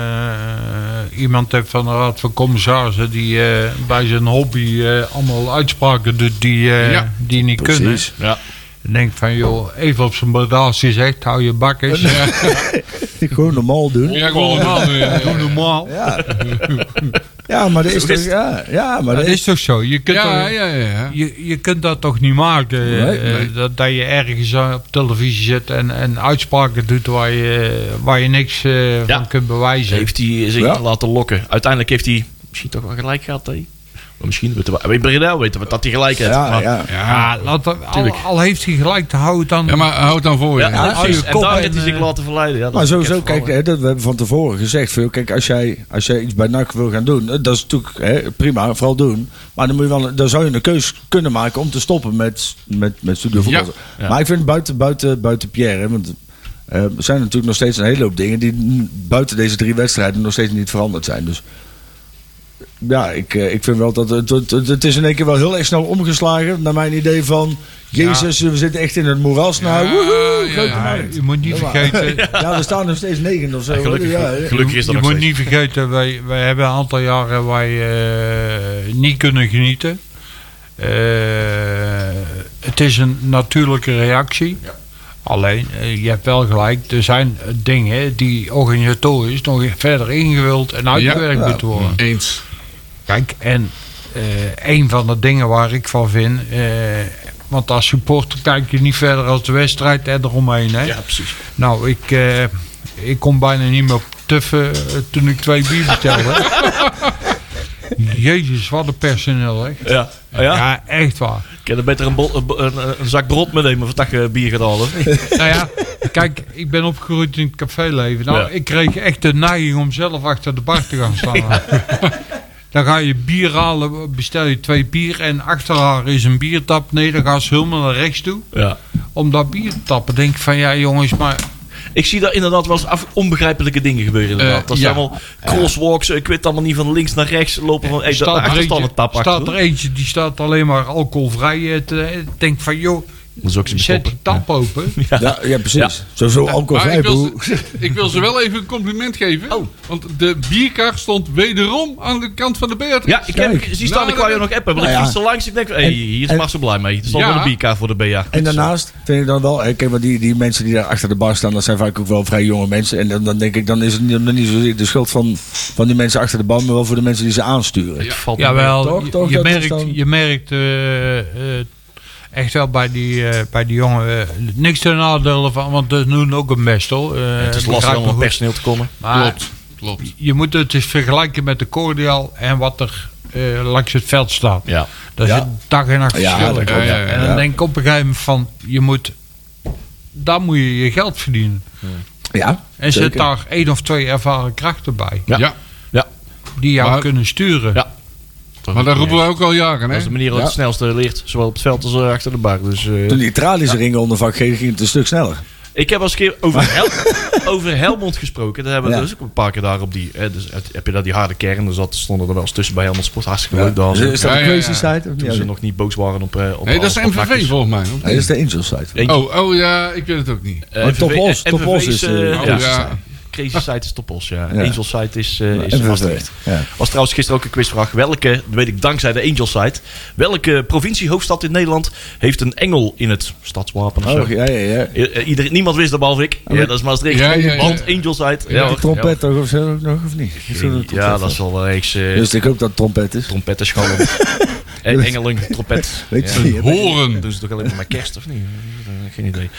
Speaker 5: eh, iemand hebt van de Raad van Commissarissen die eh, bij zijn hobby eh, allemaal uitspraken doet die, eh,
Speaker 4: Ja,
Speaker 5: die niet kunnen.
Speaker 3: Precies.
Speaker 2: Ja.
Speaker 5: Dan denk ik van, joh, even op zijn badaasje zegt, hou je bak eens.
Speaker 3: Gewoon normaal doen.
Speaker 4: Ja, gewoon normaal. ja,
Speaker 5: Doe
Speaker 4: ja.
Speaker 5: normaal.
Speaker 3: Ja, ja maar dat is toch. Ja, ja, maar
Speaker 5: Dat
Speaker 3: dat
Speaker 5: is toch zo? Je kunt,
Speaker 4: Ja,
Speaker 5: toch-
Speaker 4: ja, ja.
Speaker 5: Je, je kunt dat toch niet maken? eh,
Speaker 3: Nee,
Speaker 5: eh,
Speaker 4: nee.
Speaker 5: Dat, dat je ergens aan- op televisie zit en, en uitspraken doet waar je, waar je niks eh,
Speaker 2: Ja.
Speaker 5: van kunt bewijzen.
Speaker 2: Dus heeft hij zich
Speaker 3: Ja.
Speaker 2: laten lokken. Uiteindelijk heeft hij misschien toch wel gelijk gehad. Hè? Maar misschien weten we, bij Breda weten we dat hij gelijk heeft.
Speaker 3: Ja,
Speaker 2: maar-
Speaker 3: ja.
Speaker 4: Ja,
Speaker 5: Ja, laat, dat- al,
Speaker 2: tuurlijk.
Speaker 5: al heeft hij gelijk te houden dan.
Speaker 4: Ja, maar houd dan voor je.
Speaker 2: Ja,
Speaker 4: Ja,
Speaker 3: Ja,
Speaker 2: precies.
Speaker 5: je
Speaker 2: En
Speaker 5: kop
Speaker 2: daar
Speaker 5: en,
Speaker 2: heeft hij zich
Speaker 5: eh,
Speaker 2: laten verleiden. Ja, dat
Speaker 3: Maar
Speaker 2: is
Speaker 3: sowieso,
Speaker 2: bekend
Speaker 3: kijk,
Speaker 2: verhaal,
Speaker 3: hè, dat we hebben van tevoren gezegd. Veel, kijk, als jij, als jij iets bij NAC wil gaan doen, eh, dat is natuurlijk hè, prima, vooral doen. Maar dan, moet je wel, dan zou je een keus kunnen maken om te stoppen met, met, met studio voetbal.
Speaker 2: ja.
Speaker 3: Maar ik vind buiten, buiten, buiten Pierre, hè, want eh, er zijn natuurlijk nog steeds een hele hoop dingen die mm, buiten deze drie wedstrijden nog steeds niet veranderd zijn. Dus ja, ik, eh, ik vind wel dat het, het, het, het is in één keer wel heel erg snel omgeslagen. Naar mijn idee van, jezus, we zitten echt in het moeras nou. woehoe,
Speaker 4: ja,
Speaker 3: grote
Speaker 4: ja.
Speaker 5: Ja,
Speaker 3: markt.
Speaker 5: je moet niet
Speaker 3: Ja, maar-
Speaker 5: vergeten. je-
Speaker 3: Ja, we staan nog steeds negen of zo.
Speaker 2: Ja, gelukkig,
Speaker 3: ja,
Speaker 2: gelukkig is
Speaker 5: Je
Speaker 2: dat nog
Speaker 5: moet
Speaker 2: steeds.
Speaker 5: niet vergeten, wij, wij hebben een aantal jaren wij eh, niet kunnen genieten. Eh, het is een natuurlijke reactie. Alleen, eh, je hebt wel gelijk, er zijn eh, dingen die organisatorisch nog verder ingevuld en uitgewerkt
Speaker 3: Ja.
Speaker 5: moeten worden.
Speaker 4: Eens.
Speaker 5: Kijk, en eh, een van de dingen waar ik van vind. eh, want als supporter kijk je niet verder als de wedstrijd en eromheen. Hè?
Speaker 2: Ja, precies.
Speaker 5: Nou, ik, eh, ik kon bijna niet meer tuffen eh, toen ik twee bier bestelde. Jezus, wat een personeel, echt.
Speaker 2: Ja. Oh ja?
Speaker 5: Ja, echt waar.
Speaker 2: Ik heb er beter een, bol- een, bo- een- een zak brood meenemen of een tak eh, bier gedaan. hoor.
Speaker 5: Nou ja, kijk, ik ben opgegroeid in het caféleven. Nou,
Speaker 2: Ja.
Speaker 5: ik kreeg echt de neiging om zelf achter de bar te gaan staan. Dan ga je bier halen, bestel je twee bier en achter haar is een biertap. Nee, dan gaan ze helemaal naar rechts toe
Speaker 2: Ja.
Speaker 5: om dat bier te tappen. Denk ik van, ja jongens, maar
Speaker 2: Ik zie daar inderdaad wel eens af- onbegrijpelijke dingen gebeuren. Inderdaad.
Speaker 5: Eh,
Speaker 2: dat
Speaker 5: ja. Eh,
Speaker 2: zijn allemaal crosswalks. Ik weet allemaal niet van links naar rechts lopen. Van, hey, dat
Speaker 5: staat, er eentje,
Speaker 2: achterstanden tap
Speaker 5: staat er
Speaker 2: achter.
Speaker 5: eentje die staat alleen maar alcoholvrij. eh, te- Ik denk van, joh,
Speaker 2: Dat is ook zo'n
Speaker 5: zet die
Speaker 2: stoppen.
Speaker 5: tap open.
Speaker 3: Ja, ja precies. Sowieso
Speaker 4: Maar
Speaker 3: alcoholvrij.
Speaker 4: ik, wil
Speaker 3: broer.
Speaker 4: ze, ik wil ze wel even een compliment geven.
Speaker 5: Oh.
Speaker 2: Oh.
Speaker 4: Want de bierkar stond wederom aan de kant van de Beatrice.
Speaker 2: Ja, ik heb,
Speaker 3: Kijk.
Speaker 2: ik zie staan, ik
Speaker 4: Nou,
Speaker 2: wou je
Speaker 4: dat-
Speaker 2: nog appen. Want
Speaker 3: Nou
Speaker 2: ik
Speaker 3: ja.
Speaker 2: fiets er langs. Ik denk, hey,
Speaker 3: En-
Speaker 2: hier
Speaker 3: en-
Speaker 2: is Max zo blij mee. Er stond
Speaker 4: Ja.
Speaker 2: wel een bierkaart voor de BA.
Speaker 3: En daarnaast vind ik dan wel, hè, kijk, maar die, die mensen die daar achter de bar staan, dat zijn vaak ook wel vrij jonge mensen. En dan, dan denk ik, dan is het niet, dan niet zozeer de schuld van, van die mensen achter de bar, maar wel voor de mensen die ze aansturen.
Speaker 2: Het valt me mee.
Speaker 5: Jawel,
Speaker 3: Toch,
Speaker 5: je-
Speaker 3: toch,
Speaker 5: je,
Speaker 3: dat is
Speaker 5: merkt,
Speaker 3: dan-
Speaker 5: je merkt eh, eh, echt wel bij die, eh, bij die jongen eh, niks ten nadele van, want dat is nu ook een best hoor. Eh,
Speaker 2: Het is
Speaker 5: begrijp
Speaker 2: lastig
Speaker 5: me
Speaker 2: om aan
Speaker 5: goed.
Speaker 2: personeel te komen.
Speaker 5: Maar
Speaker 4: Klopt, klopt.
Speaker 5: je moet het eens vergelijken met de cordial en wat er eh, langs het veld staat.
Speaker 2: Ja.
Speaker 5: Dat
Speaker 3: Ja.
Speaker 5: is dag en nacht
Speaker 3: Ja,
Speaker 5: verschil.
Speaker 3: dat
Speaker 4: klopt, ja.
Speaker 5: En dan
Speaker 3: Ja.
Speaker 5: denk ik op een gegeven moment van, je moet, daar moet je je geld verdienen.
Speaker 3: Ja,
Speaker 5: En zet
Speaker 3: zeker.
Speaker 5: daar één of twee ervaren krachten bij,
Speaker 2: Ja.
Speaker 4: Ja.
Speaker 5: die jou
Speaker 4: Maar-
Speaker 5: kunnen sturen.
Speaker 2: Ja.
Speaker 4: Maar dat roepen we ook al jaren,
Speaker 2: Dat
Speaker 4: hè?
Speaker 2: is de manier waarop het
Speaker 3: Ja.
Speaker 2: snelste leert. Zowel op het veld als eh, achter de bar. Dus, eh,
Speaker 3: Toen die tralies er ringen onder vak gingen, ging het een stuk sneller.
Speaker 2: Ik heb al eens een keer over, Hel- over Helmond gesproken. Daar hebben we
Speaker 3: Ja.
Speaker 2: dus ook een paar keer daar op die... eh, dus het- heb je daar die harde kern. Er zat, stonden er wel eens tussen bij Helmond Sport. Hartstikke leuk. Daar
Speaker 3: Is, is dat
Speaker 4: Ja,
Speaker 3: de
Speaker 4: ja, ja.
Speaker 3: Crazy side? Of
Speaker 2: toen ze
Speaker 3: niet?
Speaker 2: nog niet boos waren op... eh, op
Speaker 4: Nee, dat is
Speaker 2: alles wat
Speaker 4: MVV
Speaker 2: nachtjes.
Speaker 4: volgens mij. of
Speaker 3: Nee, dat
Speaker 4: niet?
Speaker 3: is de Angel side.
Speaker 2: Eentje-
Speaker 4: Oh, oh ja, ik weet het ook niet.
Speaker 2: eh,
Speaker 3: Maar
Speaker 2: MVV
Speaker 3: Topos,
Speaker 2: eh,
Speaker 3: Topos
Speaker 2: MVV's,
Speaker 3: is, eh,
Speaker 2: eh,
Speaker 4: Oh, ja.
Speaker 2: ja. Crazy Site is Topos, ja.
Speaker 3: Ja.
Speaker 2: Angel Site is, eh is
Speaker 3: En
Speaker 2: Maastricht.
Speaker 3: Ja.
Speaker 2: Was trouwens gisteren ook een quizvraag. Welke, dat weet ik dankzij de Angel Site, welke provincie, hoofdstad in Nederland heeft een engel in het stadswapen of zo?
Speaker 3: Oh, ja, ja, ja.
Speaker 2: I- eh, iedereen- niemand wist dat behalve ik. Ja, dat is Maastricht.
Speaker 4: Ja, ja, ja.
Speaker 2: Want Angel Site.
Speaker 3: Met die
Speaker 2: hoor.
Speaker 3: trompet toch of zo nog, of niet? Is dat een
Speaker 2: Ja,
Speaker 3: trompet?
Speaker 2: ja, dat is wel wel eens eh
Speaker 3: Dus ik hoop dat het trompet is.
Speaker 2: trompettenschalm. en Eh, engeling, trompet.
Speaker 3: Weet je
Speaker 2: Ja.
Speaker 3: niet, hè?
Speaker 4: Horen.
Speaker 2: Doen ze toch alleen maar met kerst, of niet? Eh, Geen idee.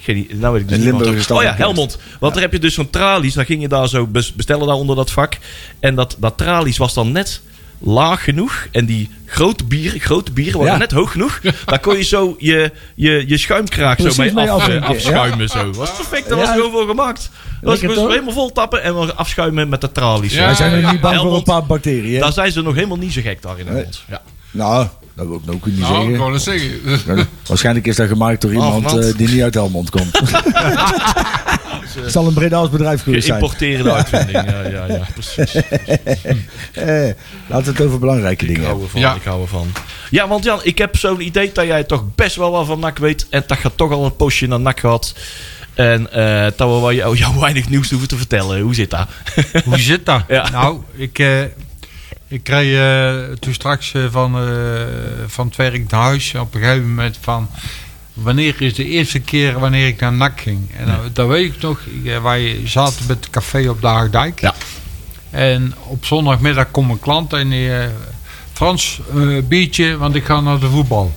Speaker 2: Geen idee. Nou weet ik dus
Speaker 3: In
Speaker 2: niet
Speaker 3: Limburg
Speaker 2: wat-
Speaker 3: is dat
Speaker 2: Oh ja,
Speaker 3: met kerst.
Speaker 2: Helmond. Want daar heb je dus zo'n tralies. Dan ging je daar zo bes- bestellen daar onder dat vak. En dat, dat tralies was dan net laag genoeg. En die grote bieren, grote bieren waren
Speaker 3: Ja.
Speaker 2: net hoog genoeg. Daar kon je zo je, je, je schuimkraak
Speaker 3: Precies
Speaker 2: zo mee,
Speaker 3: mee
Speaker 2: af-
Speaker 3: afdrinken,
Speaker 2: eh, afschuimen. Zo. Was perfect. Daar was
Speaker 3: Ja.
Speaker 2: gewoon voor gemaakt. Dat was
Speaker 3: Lekker
Speaker 2: gewoon
Speaker 3: toch?
Speaker 2: helemaal vol tappen en dan afschuimen met de tralies.
Speaker 4: Ja,
Speaker 3: Wij zijn er niet bang voor een
Speaker 2: Helmond,
Speaker 3: paar bacteriën. hè?
Speaker 2: Daar zijn ze nog helemaal niet zo gek daar in Helmond. Ja.
Speaker 3: Nou, dat wil ik nou ook niet
Speaker 4: Nou, ik
Speaker 3: zeggen.
Speaker 4: wou dat zeggen.
Speaker 3: Nou, Waarschijnlijk is dat gemaakt door iemand
Speaker 2: Afland.
Speaker 3: eh, die niet uit Helmond komt. Het zal een Bredaals bedrijf geweest zijn.
Speaker 2: Geïmporteerde uitvinding. Ja, ja, ja, precies.
Speaker 3: Eh, laten we het over belangrijke
Speaker 2: Ik
Speaker 3: dingen
Speaker 2: hou
Speaker 3: hebben.
Speaker 2: ervan,
Speaker 4: Ja.
Speaker 2: ik hou ervan. Ja, want Jan, ik heb zo'n idee dat jij toch best wel wat van NAC weet. En dat je toch al een postje naar NAC gehad. En eh dat we wel jou, jou weinig nieuws hoeven te vertellen. Hoe zit dat?
Speaker 5: Hoe zit dat?
Speaker 2: Ja.
Speaker 5: Nou, ik, eh, ik kreeg eh, toen straks eh, van, eh, van het werk naar huis op een gegeven moment van... Wanneer is de eerste keer wanneer ik naar NAC ging? En dan dat weet ik nog. ik, eh, wij zaten met het café op de Haagdijk.
Speaker 2: Ja.
Speaker 5: En op zondagmiddag komt een klant en die... eh, Frans, eh, biertje, want ik ga naar de voetbal.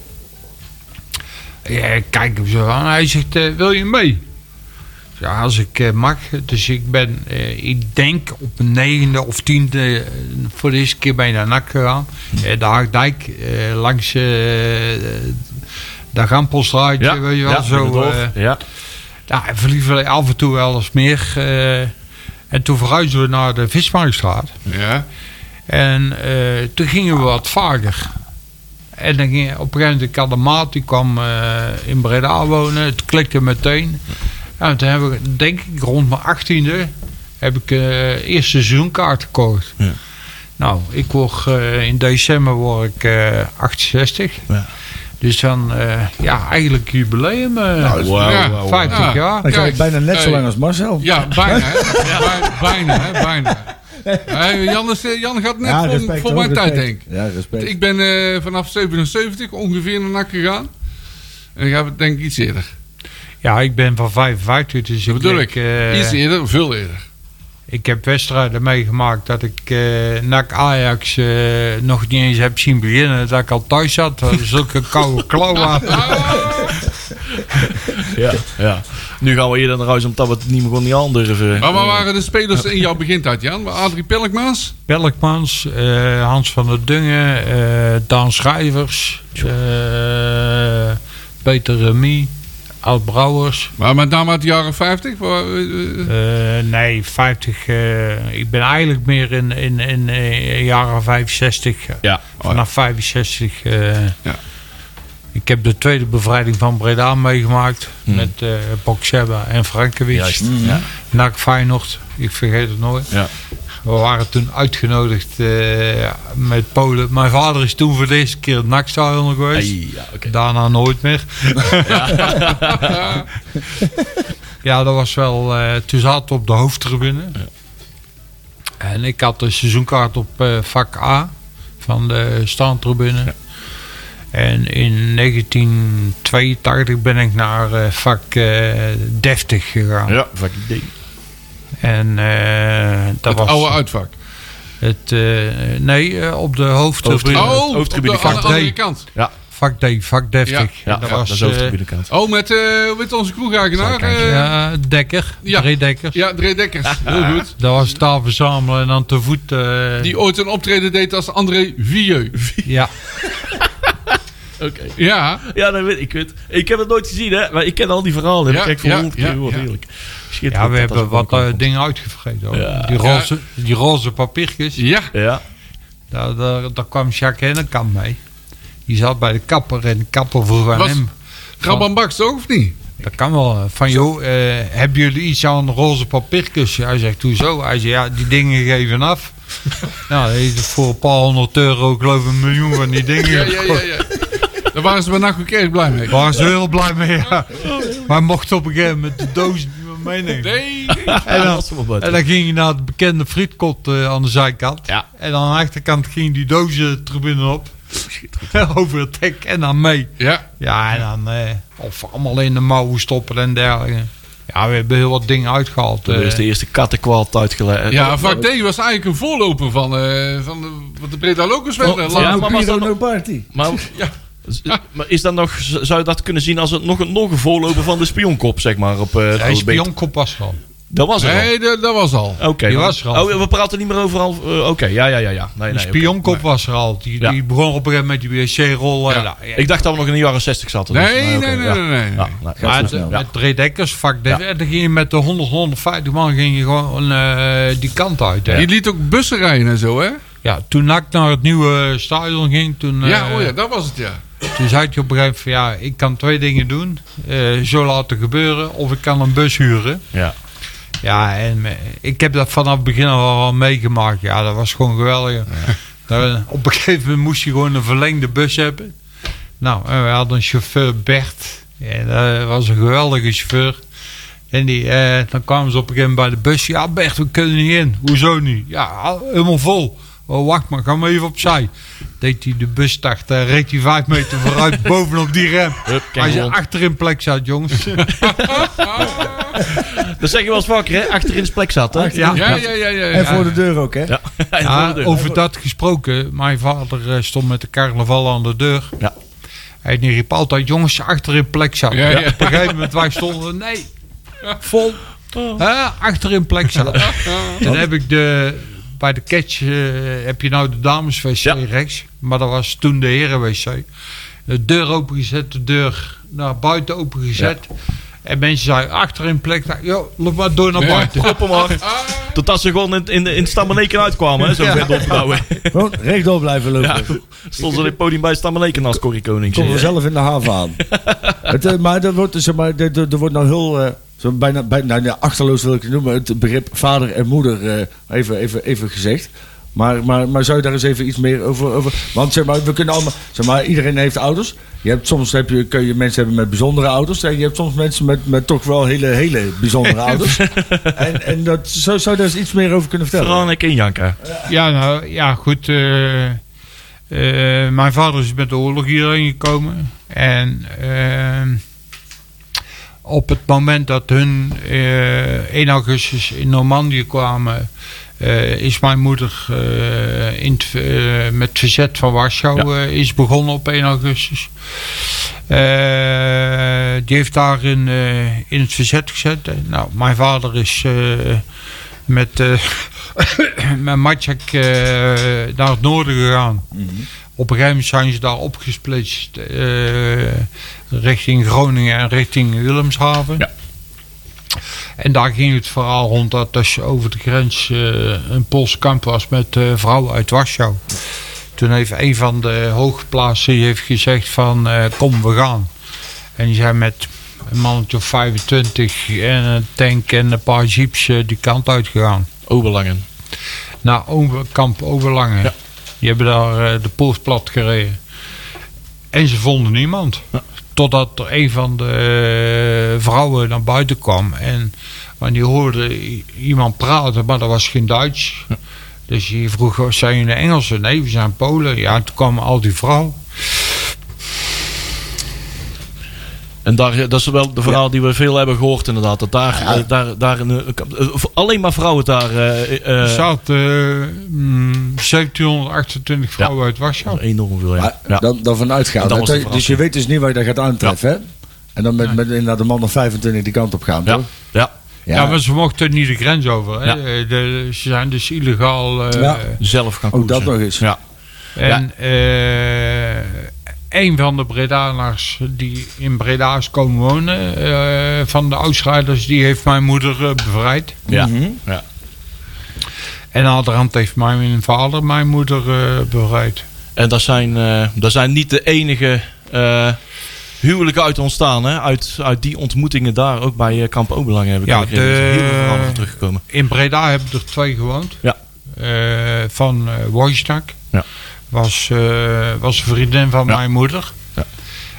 Speaker 5: Ja, ik kijk hem zo aan. Hij zegt, eh, wil je mee? Ja, als ik eh, mag. Dus ik ben, eh, ik denk op mijn negende of tiende eh, voor de eerste keer bij de NAC gegaan. Eh, de Haagdijk, eh, langs eh de Rampelstraatje, weet je wel. zo, eh,
Speaker 2: ja.
Speaker 5: ja, en verlieven we af en toe wel eens meer. eh, en toen verhuisden we naar de Vismarktstraat.
Speaker 4: Ja.
Speaker 5: En eh, toen gingen we wat vaker. En dan ging, op een gegeven moment, ik had een maat, die kwam eh, in Breda wonen. Het klikte meteen. Ja, en toen heb ik, denk ik, rond mijn achttiende... heb ik eh eerst seizoenkaart gekocht.
Speaker 2: Ja.
Speaker 5: Nou, ik word, eh, in december word ik eh 68.
Speaker 2: Ja.
Speaker 5: Dus dan, eh, ja, eigenlijk jubileum. eh
Speaker 2: Wauw,
Speaker 4: ja.
Speaker 2: wauw.
Speaker 5: 50
Speaker 4: Ja.
Speaker 5: jaar.
Speaker 3: Dan ga
Speaker 4: Kijk,
Speaker 3: ik bijna net zo
Speaker 4: eh,
Speaker 3: lang als Marcel.
Speaker 4: Ja, bijna, hè? Bij- Bijna, hè? Bijna. Hey, Jan, is, eh, Jan gaat net
Speaker 3: Ja,
Speaker 4: voor, voor
Speaker 3: hoor,
Speaker 4: mijn tijd, denk
Speaker 3: respect.
Speaker 4: ik.
Speaker 3: Ja, respect.
Speaker 4: Ik ben eh, vanaf 77 ongeveer naar NAC gegaan. En ik heb het denk ik iets eerder.
Speaker 5: Ja, ik ben van 55, dus
Speaker 4: Dat
Speaker 5: ik,
Speaker 4: bedoel
Speaker 5: denk,
Speaker 4: ik.
Speaker 5: eh,
Speaker 4: Iets eerder, veel eerder.
Speaker 5: ik heb wedstrijden meegemaakt dat ik eh NAC Ajax eh, nog niet eens heb zien beginnen. Dat ik al thuis zat. Dat is ook een koude klauw aan.
Speaker 2: ja, ja. Nu gaan we eerder naar huis omdat we het niet meer gewoon niet anders. eh.
Speaker 5: Oh.
Speaker 4: Maar waar waren de spelers in jouw begintijd, Jan? Adrie Pelkmaas?
Speaker 5: Belkmans, eh, Hans van der Dungen, eh Daan Schrijvers, eh, Peter Remy, Ad Brouwers.
Speaker 4: Maar met name uit de jaren 50? Waar- eh, eh,
Speaker 5: Eh, nee, 50. eh, ik ben eigenlijk meer in, in, in, eh, jaren eh, 65.
Speaker 2: Ja. Oh,
Speaker 5: Vanaf 65. eh,
Speaker 4: Ja.
Speaker 5: Ik heb de tweede bevrijding van Breda meegemaakt. Met eh Bokseba en Frankewitsch.
Speaker 2: Hmm. Juist, ja.
Speaker 5: NAC Feyenoord. Ik vergeet het nooit.
Speaker 2: Ja.
Speaker 5: We waren toen uitgenodigd eh, met Polen. Mijn vader is toen voor de eerste keer het NAC-stadion geweest.
Speaker 2: Ai, ja, oké.
Speaker 5: Daarna nooit meer. ja, dat was wel. eh toen zaten we op de hoofdtribune. En ik had een seizoenkaart op eh, vak A van de staantribune. En in 1982 ben ik naar eh, vak eh 30 gegaan.
Speaker 2: Ja, fuck idee.
Speaker 5: En eh, dat
Speaker 4: Het
Speaker 5: was
Speaker 4: oude uitvak.
Speaker 5: het. eh, nee, eh, op de hoofdtribune.
Speaker 2: Hoofdtribune.
Speaker 4: Oh, op de
Speaker 2: hoofdtribune
Speaker 4: aan de
Speaker 2: vak
Speaker 4: andere
Speaker 5: drie.
Speaker 4: kant.
Speaker 5: Vak D, vak 30.
Speaker 2: Ja,
Speaker 5: dat
Speaker 2: ja,
Speaker 5: was
Speaker 2: dat is ook
Speaker 5: eh,
Speaker 2: de binnenkant.
Speaker 4: Oh, met, eh, met onze kroegagenaar. eh, ja,
Speaker 5: ja, Dekker,
Speaker 4: Ja.
Speaker 5: Drie Dekkers.
Speaker 4: Dre Dekkers. Heel goed.
Speaker 5: Dat was daar verzamelen en dan te voet. eh,
Speaker 4: Die ooit een optreden deed als André Vieux.
Speaker 5: ja.
Speaker 2: Oké.
Speaker 4: Ja,
Speaker 2: Ja, dat weet ik. weet- Ik heb het nooit gezien, hè. Maar ik ken al die verhalen.
Speaker 4: Ja,
Speaker 2: ik kijk voor
Speaker 4: ja,
Speaker 2: honderd
Speaker 4: ja,
Speaker 2: keer hoor,
Speaker 4: ja.
Speaker 2: heerlijk.
Speaker 5: ja,
Speaker 2: Schitterend
Speaker 5: we
Speaker 2: dat dat
Speaker 5: hebben
Speaker 2: zo
Speaker 5: wat eh,
Speaker 2: kan.
Speaker 5: dingen uitgevreten. hoor.
Speaker 2: Ja.
Speaker 5: Die, roze, die roze papiertjes,
Speaker 4: ja.
Speaker 2: Ja.
Speaker 5: daar, daar, daar kwam Jacques Hennekamp mee. Die zat bij de kapper en de kapper vroeg aan
Speaker 4: Was-
Speaker 5: hem.
Speaker 4: Graban Baks toch, of niet?
Speaker 5: Dat kan wel. Van joh, eh, hebben jullie iets aan roze papiertjes? Hij zegt, hoezo? Hij zegt, ja, die dingen geven af. nou, hij heeft voor een paar honderd euro, ik geloof een miljoen van die dingen.
Speaker 4: Ja, ja, ja. ja. Daar waren ze bij Nacho Kerk blij mee.
Speaker 5: Daar waren ze heel blij mee. ja. Maar hij mocht op een gegeven moment de doos niet meer meenemen.
Speaker 4: Nee.
Speaker 5: En dan,
Speaker 2: was er wel wat.
Speaker 5: en dan ging je naar het bekende frietkot eh, aan de zijkant.
Speaker 2: Ja.
Speaker 5: En aan de achterkant ging die dozen tribune op. Over het hek en dan mee.
Speaker 4: Ja,
Speaker 5: Ja, en dan... eh, of allemaal in de mouwen stoppen en dergelijke. Ja, we hebben heel wat dingen uitgehaald.
Speaker 2: Er
Speaker 5: eh.
Speaker 2: is de eerste kattenkwaal uitgelegd.
Speaker 4: ja vak D was eigenlijk een voorloper van, eh, van de, wat de Breda Locus werd.
Speaker 2: Oh,
Speaker 4: Laat-
Speaker 2: ja,
Speaker 3: No
Speaker 2: maar was
Speaker 3: Piro,
Speaker 2: dat
Speaker 3: no party.
Speaker 2: Maar, Z- maar is dat nog, z- zou je dat kunnen zien als het nog een, nog een voorloper van de spionkop, zeg maar? Op, eh, het
Speaker 5: Hij is
Speaker 2: alfabet?
Speaker 5: spionkop was al.
Speaker 2: Dat was het al.
Speaker 4: Nee, dat, dat was al.
Speaker 2: Oké.
Speaker 5: Die
Speaker 2: dan-
Speaker 5: was er al.
Speaker 2: Oh, we praten niet meer over al. eh, Oké, ja, ja, ja. ja. Nee,
Speaker 5: Die
Speaker 2: nee, oké.
Speaker 5: spionkop was er al. Die,
Speaker 2: Ja.
Speaker 5: die begon op een gegeven moment met die wc-rol.
Speaker 4: Ja.
Speaker 5: Ja. Ja,
Speaker 2: Ah, Ik dacht dat we nog in de jaren 60 zaten. dus-
Speaker 4: Nee,
Speaker 2: oké,
Speaker 4: nee, nee,
Speaker 2: ja.
Speaker 4: nee, nee, nee.
Speaker 2: Ja, nee,
Speaker 3: Gaat
Speaker 5: Maar
Speaker 3: zo
Speaker 5: het-
Speaker 3: snel.
Speaker 5: met drie dekkers, vak de,
Speaker 2: Ja.
Speaker 5: en dan ging je met de 100, 150 man ging je gewoon eh, die kant uit. hè. Ja.
Speaker 4: Die liet ook bussen rijden en zo, hè?
Speaker 5: toen NAC naar het nieuwe stadion ging, toen, eh,
Speaker 4: Ja, oh ja, dat was het, ja.
Speaker 5: toen zei je op een gegeven moment van, ja, ik kan twee dingen doen. Eh, zo laten gebeuren of ik kan een bus huren.
Speaker 2: Ja.
Speaker 5: Ja, en eh, ik heb dat vanaf het begin al wel meegemaakt. Ja, dat was gewoon geweldig. Dan, op een gegeven moment moest je gewoon een verlengde bus hebben. Nou, en we hadden een chauffeur Bert. En dat was een geweldige chauffeur. En die, eh, dan kwamen ze op een gegeven moment bij de bus. Ja, Bert, we kunnen niet in. Hoezo niet? Ja, al- helemaal vol. Oh, wacht maar, ga maar even opzij. Deed hij de bus start, eh, reed hij vijf meter vooruit bovenop die rem.
Speaker 2: Hup, kijk
Speaker 5: Als je
Speaker 2: rond.
Speaker 5: achterin plek zat, jongens.
Speaker 2: Dat zeg je wel eens vaker, hè? Achterin zijn plek zat, hè?
Speaker 5: Ja.
Speaker 4: Ja, ja, ja, ja.
Speaker 3: En
Speaker 4: ja.
Speaker 3: voor de deur ook, hè?
Speaker 2: Ja. En
Speaker 5: Ja,
Speaker 2: voor de deur.
Speaker 5: over dat gesproken. Mijn vader eh, stond met de carnaval aan de deur.
Speaker 2: Ja.
Speaker 5: En die riep altijd, jongens, achterin plek zat.
Speaker 4: Ja, ja.
Speaker 5: Op een gegeven moment, wij stonden, nee, vol. Hè, achterin plek zat. Toen heb ik de, bij de catch, eh, heb je nou de dameswc
Speaker 2: Ja.
Speaker 5: rechts. Maar dat was toen de herenwc. De deur opengezet, de deur naar buiten opengezet. En mensen zeiden, achterin plek, zat." joh, loop maar door naar
Speaker 4: Ja.
Speaker 5: buiten.
Speaker 2: Kloppen maar. Totdat ze gewoon in, in, in Stammeneken uitkwamen, hè? Zo
Speaker 5: Ja.
Speaker 2: ja. verder opbouwen.
Speaker 3: Gewoon rechtdoor blijven lopen.
Speaker 2: Ja. Stonden ze op het podium bij Stammeneken als Corrie Konings.
Speaker 3: Komt er zelf in de haven aan. het, eh, maar er wordt, zeg maar, er, er- er wordt nou heel... eh, zo bijna, bijna nou, ja, achterloos wil ik het noemen. Het begrip vader en moeder eh, even, even, even gezegd. Maar, maar, maar zou je daar eens even iets meer over... over want zeg maar, we kunnen allemaal... Zeg maar, iedereen heeft ouders. Je hebt, soms heb je, kun je mensen hebben met bijzondere ouders. En je hebt soms mensen met, met toch wel hele, hele bijzondere ouders. En, en dat, zou, zou je daar eens iets meer over kunnen vertellen?
Speaker 2: Franek en Janka.
Speaker 5: Ja, nou, ja, goed. eh, eh, mijn vader is met de oorlog hierheen gekomen. En ehm, op het moment dat hun eh 1 augustus in Normandië kwamen... eh, is mijn moeder eh, in het, eh, met het verzet van Warschau eh, is begonnen op 1 augustus. Eh, die heeft daar in, eh, in het verzet gezet. Eh, Nou, mijn vader is eh, met, eh met Maciek eh, naar het noorden gegaan. Op een gegeven moment zijn ze daar opgesplitst eh, richting Groningen en richting Willemshaven.
Speaker 2: Ja.
Speaker 5: En daar ging het verhaal rond dat dus over de grens eh, een Pools kamp was met eh, vrouwen uit Warschau. Toen heeft een van de hooggeplaatsten die heeft gezegd van eh, kom we gaan. En die zijn met een mannetje of 25 en een tank en een paar jeeps eh, die kant uit gegaan.
Speaker 2: Oberlangen.
Speaker 5: Naar Over- kamp Overlangen. Die hebben daar eh, de poort plat gereden. En ze vonden niemand. Totdat er een van de eh, vrouwen naar buiten kwam. En, want die hoorde i- iemand praten, maar dat was geen Duits. Dus die vroeg, "Oh, zijn jullie Engelsen? Nee, we zijn Polen. Ja, toen kwam al die vrouw.
Speaker 2: En daar, eh, dat is wel de verhaal die we veel hebben gehoord inderdaad. Dat daar, eh, daar, daar een, eh, kap- eh, alleen maar vrouwen daar... eh,
Speaker 5: Er
Speaker 2: eh,
Speaker 5: zaten eh, mm, 1728 vrouwen uit Warschau.
Speaker 2: nou, enorm veel, ja.
Speaker 3: Maar
Speaker 2: ja.
Speaker 3: Dan, dan vanuit gaan.
Speaker 2: En dan was
Speaker 3: Dat-
Speaker 2: de
Speaker 3: dus je weet dus niet waar je dat gaat aantreffen. Hè? En dan met, met inderdaad de man of 25 die kant op gaan,
Speaker 2: Ja, Dus-
Speaker 3: toch?
Speaker 2: ja.
Speaker 5: Ja, maar ze mochten niet de grens over. Hè. Eh, De- ze zijn dus illegaal... eh,
Speaker 3: Ja.
Speaker 2: zelf gaan
Speaker 3: Ook dat
Speaker 2: koersen.
Speaker 3: nog eens.
Speaker 2: Ja.
Speaker 5: En eh, een van de Bredaners die in Breda is komen wonen, eh, van de uitschrijders, die heeft mijn moeder eh, bevrijd.
Speaker 2: Ja.
Speaker 5: Mhm.
Speaker 2: ja.
Speaker 5: En aan de hand heeft mijn vader mijn moeder eh, bevrijd.
Speaker 2: En daar zijn, eh, daar zijn niet de enige eh, huwelijken uit ontstaan. Hè? Uit, uit die ontmoetingen daar, ook bij eh, Kamp Obelang heb ik
Speaker 5: Ja,
Speaker 2: ook gezien. Er zijn
Speaker 5: de-
Speaker 2: heel veel verhalen van teruggekomen.
Speaker 5: In Breda hebben er twee gewoond.
Speaker 2: Ja.
Speaker 5: Eh, van eh Wojstak.
Speaker 2: Ja.
Speaker 5: Was, eh, was een vriendin van
Speaker 2: Ja.
Speaker 5: mijn moeder.
Speaker 2: Ja.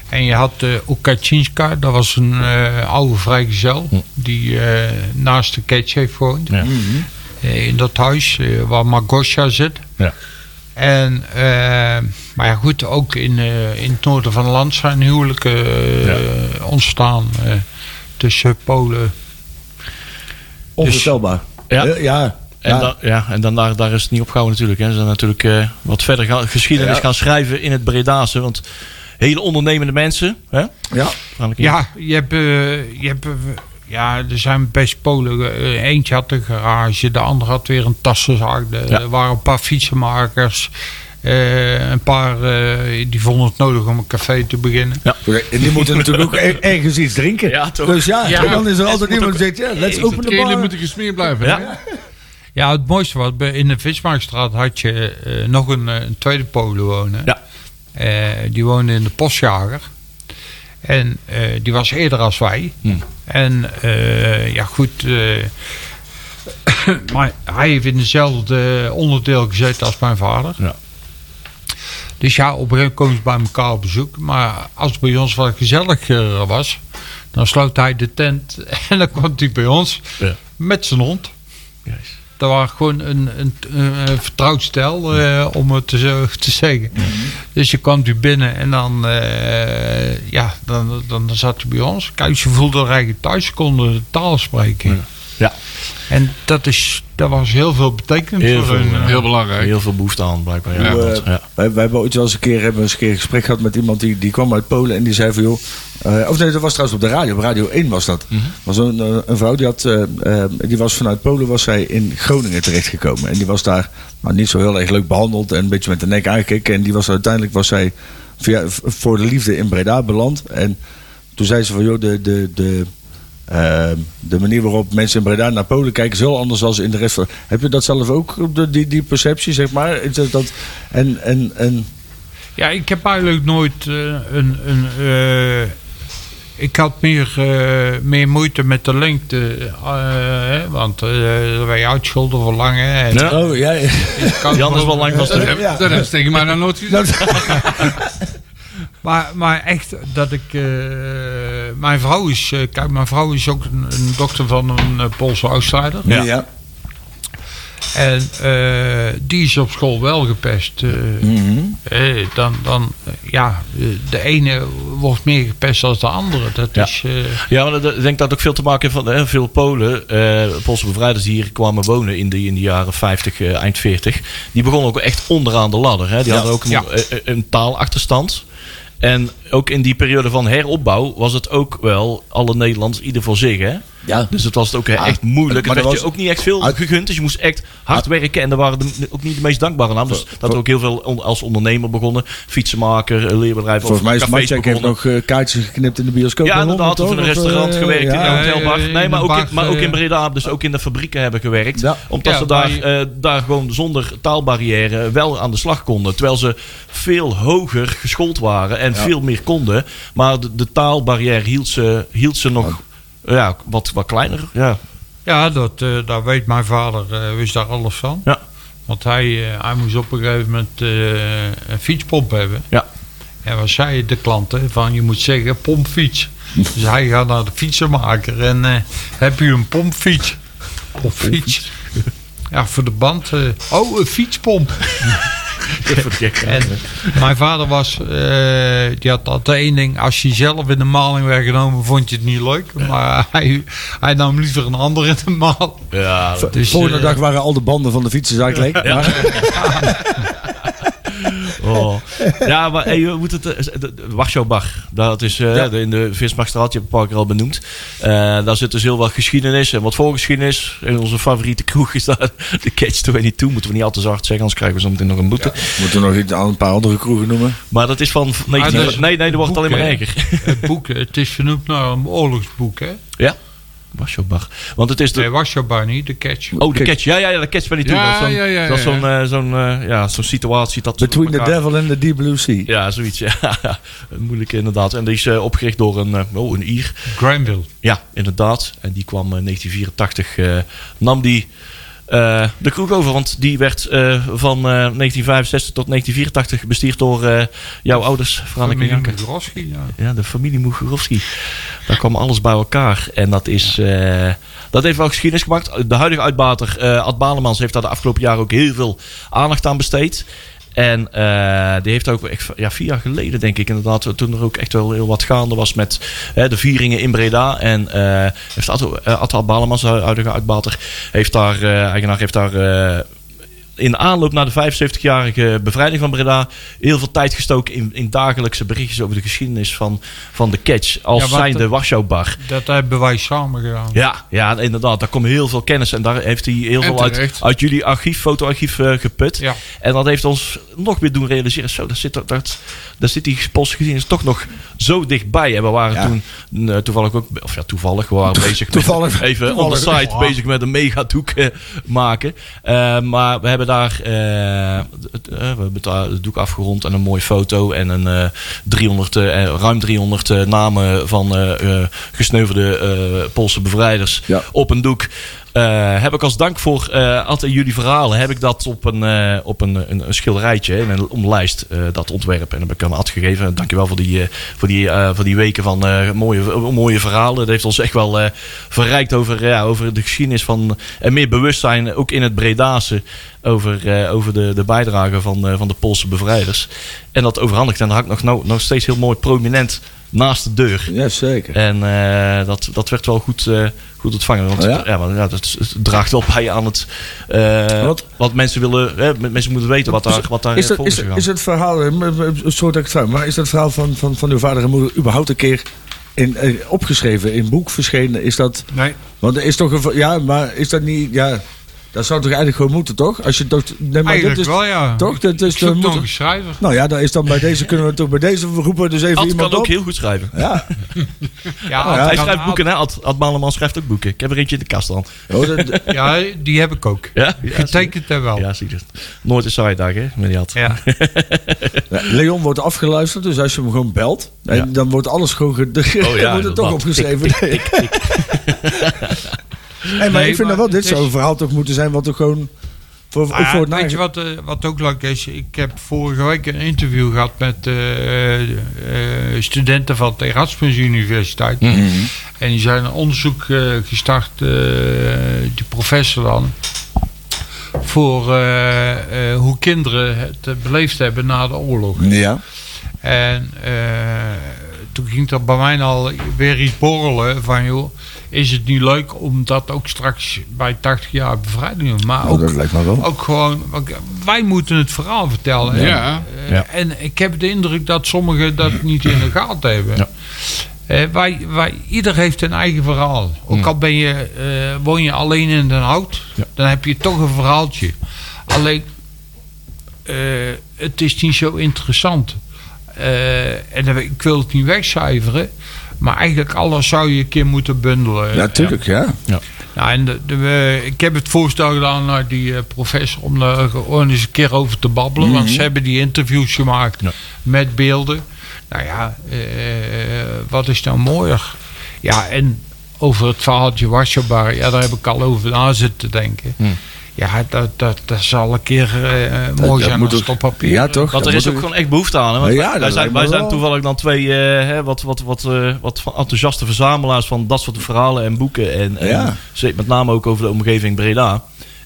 Speaker 5: En je had eh Okacinska, dat was een eh, oude vrijgezel. Die eh, naast de catch heeft gewoond.
Speaker 2: Ja.
Speaker 5: Eh, in dat huis eh, waar Magosha zit.
Speaker 2: Ja.
Speaker 5: En, eh, maar ja, goed, ook in, eh, in het noorden van het land zijn huwelijken eh, ontstaan eh, tussen Polen.
Speaker 3: Onvoorstelbaar.
Speaker 2: Ja.
Speaker 3: Eh, ja.
Speaker 2: En,
Speaker 3: Ja.
Speaker 2: dan, ja, en dan daar, daar is het niet opgehouden natuurlijk. Hè. Ze zijn natuurlijk eh, wat verder gaan, geschiedenis
Speaker 3: Ja.
Speaker 2: gaan schrijven in het Bredaanse. Want hele ondernemende mensen. Hè?
Speaker 3: Ja.
Speaker 2: Waarschijnlijk niet.
Speaker 5: Ja, je hebt, eh, je hebt eh, ja, er zijn best Polen. Eh, Eentje had een garage, de ander had weer een tassenzaak. De-
Speaker 2: Ja.
Speaker 5: Er waren een paar fietsenmakers. eh, een paar eh, die vonden het nodig om een café te beginnen.
Speaker 3: Oké, En die moeten natuurlijk ook er- ergens iets drinken.
Speaker 2: Ja, toch?
Speaker 3: Dus ja,
Speaker 5: Ja.
Speaker 3: dan is er
Speaker 2: Het
Speaker 3: altijd
Speaker 2: moet
Speaker 3: iemand
Speaker 2: ook-
Speaker 3: die zegt, ja, let's open the
Speaker 4: Kinderen
Speaker 3: bar.
Speaker 4: moeten gesmeerd blijven.
Speaker 2: Ja.
Speaker 4: hè?
Speaker 5: Ja, het mooiste was, bij- in de Vismarktstraat had je eh, nog een, eh, een tweede Polen wonen.
Speaker 2: Ja.
Speaker 5: Eh, die woonde in de Postjager. En eh, die was eerder als wij. En eh, ja, goed. eh, maar hij heeft in hetzelfde onderdeel gezeten als mijn vader.
Speaker 2: Ja.
Speaker 5: Dus ja, op een gegeven moment komen ze bij elkaar op bezoek. Maar als het bij ons wat gezelliger was, dan sloot hij de tent en dan kwam hij bij ons
Speaker 2: Ja.
Speaker 5: met zijn hond.
Speaker 2: Juist.
Speaker 5: Dat was gewoon een, een, een, een vertrouwd stel, eh, om het zo te zeggen. Dus je kwam nu binnen en dan, eh, ja, dan, dan zat je bij ons. Kijk, ze voelde dat eigenlijk thuis, ze konden de taal spreken.
Speaker 2: Ja.
Speaker 5: En dat, is, dat was heel veel betekend
Speaker 2: Heel
Speaker 5: voor
Speaker 2: veel,
Speaker 5: hun. eh,
Speaker 2: ja.
Speaker 4: eh, Heel belangrijk.
Speaker 2: Heel veel behoefte aan blijkbaar. Ja,
Speaker 4: Ja.
Speaker 2: want,
Speaker 3: We,
Speaker 2: ja.
Speaker 3: eh, wij, wij hebben ooit wel eens een keer, hebben eens een keer een gesprek gehad met iemand die, die kwam uit Polen en die zei van joh. eh, of nee, dat was trouwens op de radio. Op Radio 1 was dat. was een, eh, een vrouw die, had, eh, eh, die was vanuit Polen was zij in Groningen terechtgekomen. En die was daar nou, niet zo heel erg leuk behandeld en een beetje met de nek aangekeken. En die was uiteindelijk was zij via, v- voor de liefde in Breda beland. En toen zei ze van joh, de, de, de, eh, de manier waarop mensen in Breda naar Polen kijken is heel anders dan in de rest van. Heb je dat zelf ook, de- die, die perceptie, zeg maar? Is dat- dat, en, en, en
Speaker 5: Ja, ik heb eigenlijk nooit eh, een. een eh, ik had meer, eh, meer moeite met de lengte. eh, hè, want eh wij uitscholden voor lang. Hè, en
Speaker 2: Ja.
Speaker 3: Oh, ja, ja.
Speaker 5: het koud
Speaker 2: Jan is wel lang vast.
Speaker 4: Dat,
Speaker 2: terug.
Speaker 4: heb, dat hebben ze tegen mij nou nooit gezegd.
Speaker 5: Maar, maar echt dat ik. eh, mijn vrouw is. eh, kijk, mijn vrouw is ook een, een dokter van een eh, Poolse outsider.
Speaker 3: Ja.
Speaker 2: Ja.
Speaker 5: En eh, die is op school wel gepest. eh.
Speaker 2: Mhm.
Speaker 5: Eh, dan, dan, eh, ja, eh, de ene wordt meer gepest dan de andere. Dat
Speaker 2: Ja.
Speaker 5: is... eh,
Speaker 2: Ja, maar dat- ik denk dat het ook veel te maken heeft van hè, veel Polen, eh Poolse bevrijders die hier kwamen wonen in de, in de jaren 50, eh, eind 40. Die begonnen ook echt onderaan de ladder. Hè. Die hadden ook een,
Speaker 5: Ja.
Speaker 2: eh, eh, een taalachterstand. En ook in die periode van heropbouw was het ook wel alle Nederlands ieder voor zich. Hè?
Speaker 3: Ja.
Speaker 2: Dus het was ook eh,
Speaker 3: Ja,
Speaker 2: echt moeilijk. Maar
Speaker 3: maar
Speaker 2: werd
Speaker 3: dat
Speaker 2: je
Speaker 3: was- Ah.
Speaker 2: ook niet echt veel
Speaker 3: Uit-
Speaker 2: gegund. Dus je moest echt hard werken. En er waren de- ook niet de meest dankbare naam. Dus dat er ook heel veel on- als ondernemer begonnen. Fietsenmaker, eh, leerbedrijf.
Speaker 3: Volgens mij is
Speaker 2: cafés
Speaker 3: Matjak heeft
Speaker 2: begonnen.
Speaker 3: nog eh, kaartjes geknipt in de bioscoop.
Speaker 2: Ja,
Speaker 3: in Londen,
Speaker 2: inderdaad. Of in een
Speaker 3: toch?
Speaker 2: restaurant
Speaker 3: eh,
Speaker 2: gewerkt, in
Speaker 3: ja.
Speaker 2: een hotelbar.
Speaker 5: Ja, ja,
Speaker 2: Nee, maar
Speaker 5: in
Speaker 2: ook,
Speaker 5: een
Speaker 2: in,
Speaker 5: bar,
Speaker 2: maar ook
Speaker 5: eh,
Speaker 2: in Breda, dus ook in de fabrieken hebben gewerkt.
Speaker 3: Ja.
Speaker 2: Omdat
Speaker 5: Ja,
Speaker 2: ze daar,
Speaker 5: maar
Speaker 2: eh, daar gewoon zonder taalbarrière wel aan de slag konden. Terwijl ze veel hoger geschoold waren en veel meer konden. Maar de, de taalbarrière hield ze, hield ze nog ja, wat, wat kleiner. Ja.
Speaker 5: Ja, dat, eh daar weet mijn vader, eh, wist daar alles van.
Speaker 2: Ja.
Speaker 5: Want hij, eh, hij moest op een gegeven moment eh, een fietspomp hebben.
Speaker 2: Ja.
Speaker 5: En wat zei de klanten? Van je moet zeggen pompfiets. dus hij gaat naar de fietsenmaker en eh, heb je een pompfiets? Pompfiets. ja, voor de band. eh, oh, een fietspomp. En mijn vader was, eh, die had altijd één ding. Als je zelf in de maling werd genomen, vond je het niet leuk. Maar hij, hij nam liever een ander in de maling.
Speaker 2: ja, dat-
Speaker 5: Dus,
Speaker 3: Volgende
Speaker 5: eh,
Speaker 3: dag waren al de banden van de fietsers eigenlijk leeg. Maar
Speaker 2: Oh. Ja, maar hey, we moeten het. eh, de- de- Warschau-Bach, dat is eh, de- in de Vismarktstraat, je hebt het een paar keer al benoemd. Eh, daar zit dus heel wat geschiedenis en wat voorgeschiedenis. En onze favoriete kroeg is daar de Catch 22. Moeten we niet al te zacht zeggen, anders krijgen we zo meteen nog een boete.
Speaker 3: Moeten we nog iets aan een paar andere kroegen noemen?
Speaker 2: Maar dat is van. 19
Speaker 5: Ah,
Speaker 4: dus
Speaker 5: dat is
Speaker 2: nee, nee, dat wordt het alleen maar
Speaker 5: boek, hè?
Speaker 2: erger.
Speaker 5: Het boek, het is vernoemd naar een oorlogsboek, hè?
Speaker 2: Ja, Warschau-Bach. Want het is de.
Speaker 5: Nee, was je bij niet, de catch.
Speaker 2: Oh, de catch. Ja, ja, ja, de catch 22.
Speaker 4: Ja,
Speaker 2: dat is zo'n
Speaker 4: ja, ja,
Speaker 2: dat is
Speaker 4: ja,
Speaker 2: zo'n, eh, zo'n, eh, ja, zo'n situatie. Dat ze
Speaker 3: Between the
Speaker 2: elkaar-
Speaker 3: Devil and the Deep Blue Sea.
Speaker 2: Ja, zoiets. Ja. Moeilijk inderdaad. En die is eh, opgericht door een, eh, oh, een Ier.
Speaker 5: Granville.
Speaker 2: Ja, inderdaad. En die kwam in 1984, eh, nam die eh, de kroeg over. Want die werd eh, van eh, 1965 tot 1984 bestuurd door eh, jouw ouders, Franek en
Speaker 5: Familie
Speaker 2: Janke.
Speaker 5: Migroski, ja.
Speaker 2: Ja, de familie Moegorowski. Daar kwam alles bij elkaar. En dat is... eh, dat heeft wel geschiedenis gemaakt. De huidige uitbater, eh, Ad Balemans, heeft daar de afgelopen jaren ook heel veel aandacht aan besteed. En eh, die heeft ook echt, ja, vier jaar geleden, denk ik inderdaad, toen er ook echt wel heel wat gaande was met hè, de vieringen in Breda. En eh heeft Ad, eh, Ad Balemans, de huidige uitbater, heeft daar, eh, eigenaar heeft daar eh, in aanloop naar de 75-jarige bevrijding van Breda heel veel tijd gestoken in, in dagelijkse berichtjes over de geschiedenis van, van de catch. Als
Speaker 5: Ja, want
Speaker 2: zijnde
Speaker 5: het-
Speaker 2: Warschau-bar.
Speaker 5: Dat hebben wij samen gedaan.
Speaker 2: Ja, ja, inderdaad. Daar komt heel veel kennis. En daar heeft hij heel
Speaker 4: En
Speaker 2: veel uit,
Speaker 4: terecht.
Speaker 2: uit jullie archief, fotoarchief eh, geput.
Speaker 5: Ja.
Speaker 2: En dat heeft ons nog weer doen realiseren. Zo, daar zit, dat, dat, daar zit die Poolse geschiedenis toch nog zo dichtbij. En we waren
Speaker 3: Ja.
Speaker 2: toen eh, toevallig ook... Of ja, toevallig. We waren bezig
Speaker 3: Toevallig.
Speaker 2: met... Even on the
Speaker 3: Toevallig.
Speaker 2: side. Bezig met een megadoek eh, maken. Eh, maar we hebben daar... eh, het, eh, we hebben het, eh, het doek afgerond en een mooie foto. En een eh, 300, eh, ruim 300 eh, namen van eh, eh, gesneuvelde eh, Poolse bevrijders
Speaker 3: Ja.
Speaker 2: op een doek. Eh, heb ik als dank voor eh al jullie verhalen, heb ik dat op een, eh, op een, een, een schilderijtje, in een omlijst, eh, dat ontwerp. En dat heb ik aan Ad gegeven. En Dankjewel voor die, eh, voor die, eh, voor die weken van eh, mooie, mooie verhalen. Dat heeft ons echt wel eh, verrijkt over, ja, over de geschiedenis van, en meer bewustzijn, ook in het Bredaanse, over, eh, over de, de bijdrage van, eh, van de Poolse bevrijders. En dat overhandigd. En dat hangt nog, nou- nog steeds heel mooi prominent naast de deur.
Speaker 3: Ja, zeker.
Speaker 2: En eh, dat, dat werd wel goed, eh, goed ontvangen. Want
Speaker 3: Oh ja?
Speaker 2: ja? want, ja, dat het draagt wel bij aan het. eh,
Speaker 3: Wat?
Speaker 2: wat? mensen willen. Hè, m- mensen moeten weten wat daar, wat daar
Speaker 3: Is, dat,
Speaker 2: voor
Speaker 3: is,
Speaker 2: is gegaan.
Speaker 3: is het verhaal, eh, m- m- sorry dat ik het vraag, maar is dat verhaal van, van, van uw vader en moeder überhaupt een keer in, eh, opgeschreven, in boek verschenen? Is dat,
Speaker 5: Nee.
Speaker 3: want er is toch een, ver- ja, maar is dat niet, ja, dat zou toch eigenlijk gewoon moeten, toch? Als je toch, nee, maar
Speaker 5: Eigenlijk
Speaker 3: dit is,
Speaker 4: Oh
Speaker 5: wel, ja.
Speaker 3: toch? Dat is
Speaker 5: Ik zoek
Speaker 3: de,
Speaker 5: nog een schrijver.
Speaker 3: nou ja, dan is dan bij deze, kunnen we toch bij deze roepen dus even
Speaker 2: Ad
Speaker 3: iemand
Speaker 2: kan ook
Speaker 3: op.
Speaker 2: heel goed schrijven.
Speaker 3: Ja,
Speaker 5: Ja,
Speaker 3: ja.
Speaker 2: Hij
Speaker 5: kan-
Speaker 2: schrijft boeken, hè? Ad, Ad Maleman schrijft ook boeken. Ik heb er eentje in de kast dan.
Speaker 3: oh, dat-
Speaker 5: Ja, die heb ik ook.
Speaker 2: Ja?
Speaker 5: Getekend en wel.
Speaker 2: Ja, zie je. Nooit een saaie dag, hè? Met die Ad.
Speaker 5: Ja.
Speaker 3: ja, Leon wordt afgeluisterd, dus als je hem gewoon belt, en
Speaker 2: Ja.
Speaker 3: dan wordt alles gewoon, ge- dan wordt het toch
Speaker 2: inderdaad.
Speaker 3: opgeschreven. Hey, maar
Speaker 5: Nee,
Speaker 3: ik vind
Speaker 5: maar
Speaker 3: dat wel, dit
Speaker 5: het is-
Speaker 3: zou een verhaal toch moeten zijn wat er gewoon voor, ook
Speaker 5: Maar ja,
Speaker 3: voor het
Speaker 5: weet je
Speaker 3: nage-
Speaker 5: wat, eh, wat ook leuk is? Ik heb vorige week een interview gehad met eh, eh, studenten van de Erasmus Universiteit.
Speaker 3: Mhm.
Speaker 5: En die zijn een onderzoek eh, gestart, eh, die professor dan. voor eh, eh, hoe kinderen het eh, beleefd hebben na de oorlog.
Speaker 3: Ja.
Speaker 5: En eh, toen ging er bij mij al weer iets borrelen van joh, is het niet leuk om dat ook straks bij 80 jaar bevrijding te doen? Maar
Speaker 3: Nou,
Speaker 5: ook,
Speaker 3: dat lijkt me wel.
Speaker 5: ook gewoon, want wij moeten het verhaal vertellen. hè?
Speaker 4: Ja.
Speaker 5: Eh,
Speaker 2: Ja.
Speaker 5: En ik heb de indruk dat sommigen dat niet in de gaten hebben.
Speaker 2: Ja.
Speaker 5: Eh, wij, wij, ieder heeft een eigen verhaal. Ook al ben je, eh, woon je alleen in Den Hout,
Speaker 2: Ja.
Speaker 5: dan heb je toch een verhaaltje. Alleen, eh, het is niet zo interessant. Eh, en dan- ik wil het niet wegcijferen, maar eigenlijk alles zou je een keer moeten bundelen.
Speaker 3: Ja, tuurlijk, ja.
Speaker 5: Nou, en de, de, eh, ik heb het voorstel gedaan naar die eh, professor om daar gewoon eens een keer over te babbelen.
Speaker 3: Mhm.
Speaker 5: Want ze hebben die interviews gemaakt
Speaker 2: Ja.
Speaker 5: met beelden. Nou ja, eh, wat is nou mooier? Ja, en over het verhaaltje Wasjabar, ja, daar heb ik al over na zitten denken. Ja, dat, dat, dat zal een keer eh, mooi
Speaker 3: Mhm. dat
Speaker 5: zijn
Speaker 3: moet
Speaker 5: als
Speaker 3: ook-
Speaker 5: het op papier.
Speaker 3: Ja, toch?
Speaker 2: Want
Speaker 3: Dat
Speaker 2: er is
Speaker 3: moet
Speaker 2: ook gewoon echt behoefte aan. Hè? Want
Speaker 3: Ja,
Speaker 2: wij-
Speaker 3: dat
Speaker 2: wij
Speaker 3: lijkt
Speaker 2: zijn,
Speaker 3: me
Speaker 2: wij zijn
Speaker 3: wel.
Speaker 2: toevallig dan twee eh, hè, wat, wat, wat, eh, wat van enthousiaste verzamelaars van dat soort verhalen en boeken. En, en
Speaker 3: Ja.
Speaker 2: ze- met name ook over de omgeving Breda.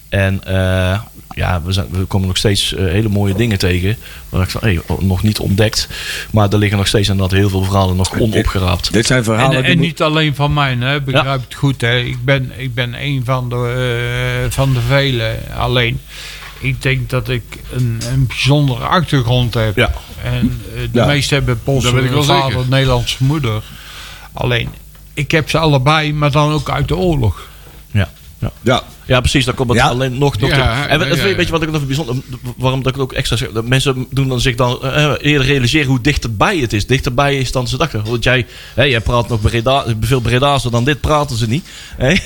Speaker 2: En eh, ja, we, zijn, we komen nog steeds eh, hele mooie dingen tegen. Waar ik van, hey, oh, nog niet ontdekt. Maar er liggen nog steeds inderdaad heel veel verhalen nog onopgeraapt.
Speaker 3: Dit zijn verhalen
Speaker 5: En,
Speaker 3: die
Speaker 5: en
Speaker 3: moet-
Speaker 5: niet alleen van mij, hè? begrijp het goed. Hè? Ik, ben, ik ben een van de, eh, van de velen. Alleen, ik denk dat ik een, een bijzondere achtergrond heb.
Speaker 2: Ja.
Speaker 5: En eh, de
Speaker 3: Ja.
Speaker 5: meesten hebben Poolse
Speaker 4: Dat weet ik wel
Speaker 5: vader,
Speaker 4: zeker.
Speaker 5: Nederlandse moeder. Alleen, ik heb ze allebei, maar dan ook uit de oorlog.
Speaker 2: Ja. Ja.
Speaker 3: Ja,
Speaker 2: Ja, precies. Dan komt het
Speaker 3: Ja.
Speaker 2: alleen nog... nog
Speaker 4: Ja,
Speaker 2: terug. en we-
Speaker 4: ja,
Speaker 2: het-
Speaker 4: ja,
Speaker 2: weet
Speaker 4: ja.
Speaker 2: je wat ik nog bijzonder... Waarom dat ik het ook extra zeg? Dat mensen doen dan zich dan eh, eerder realiseren hoe dichterbij het is. Dichterbij is dan ze dachten. Want jij, hè, jij praat nog Breda, veel Breda's dan dit praten ze niet. Hè?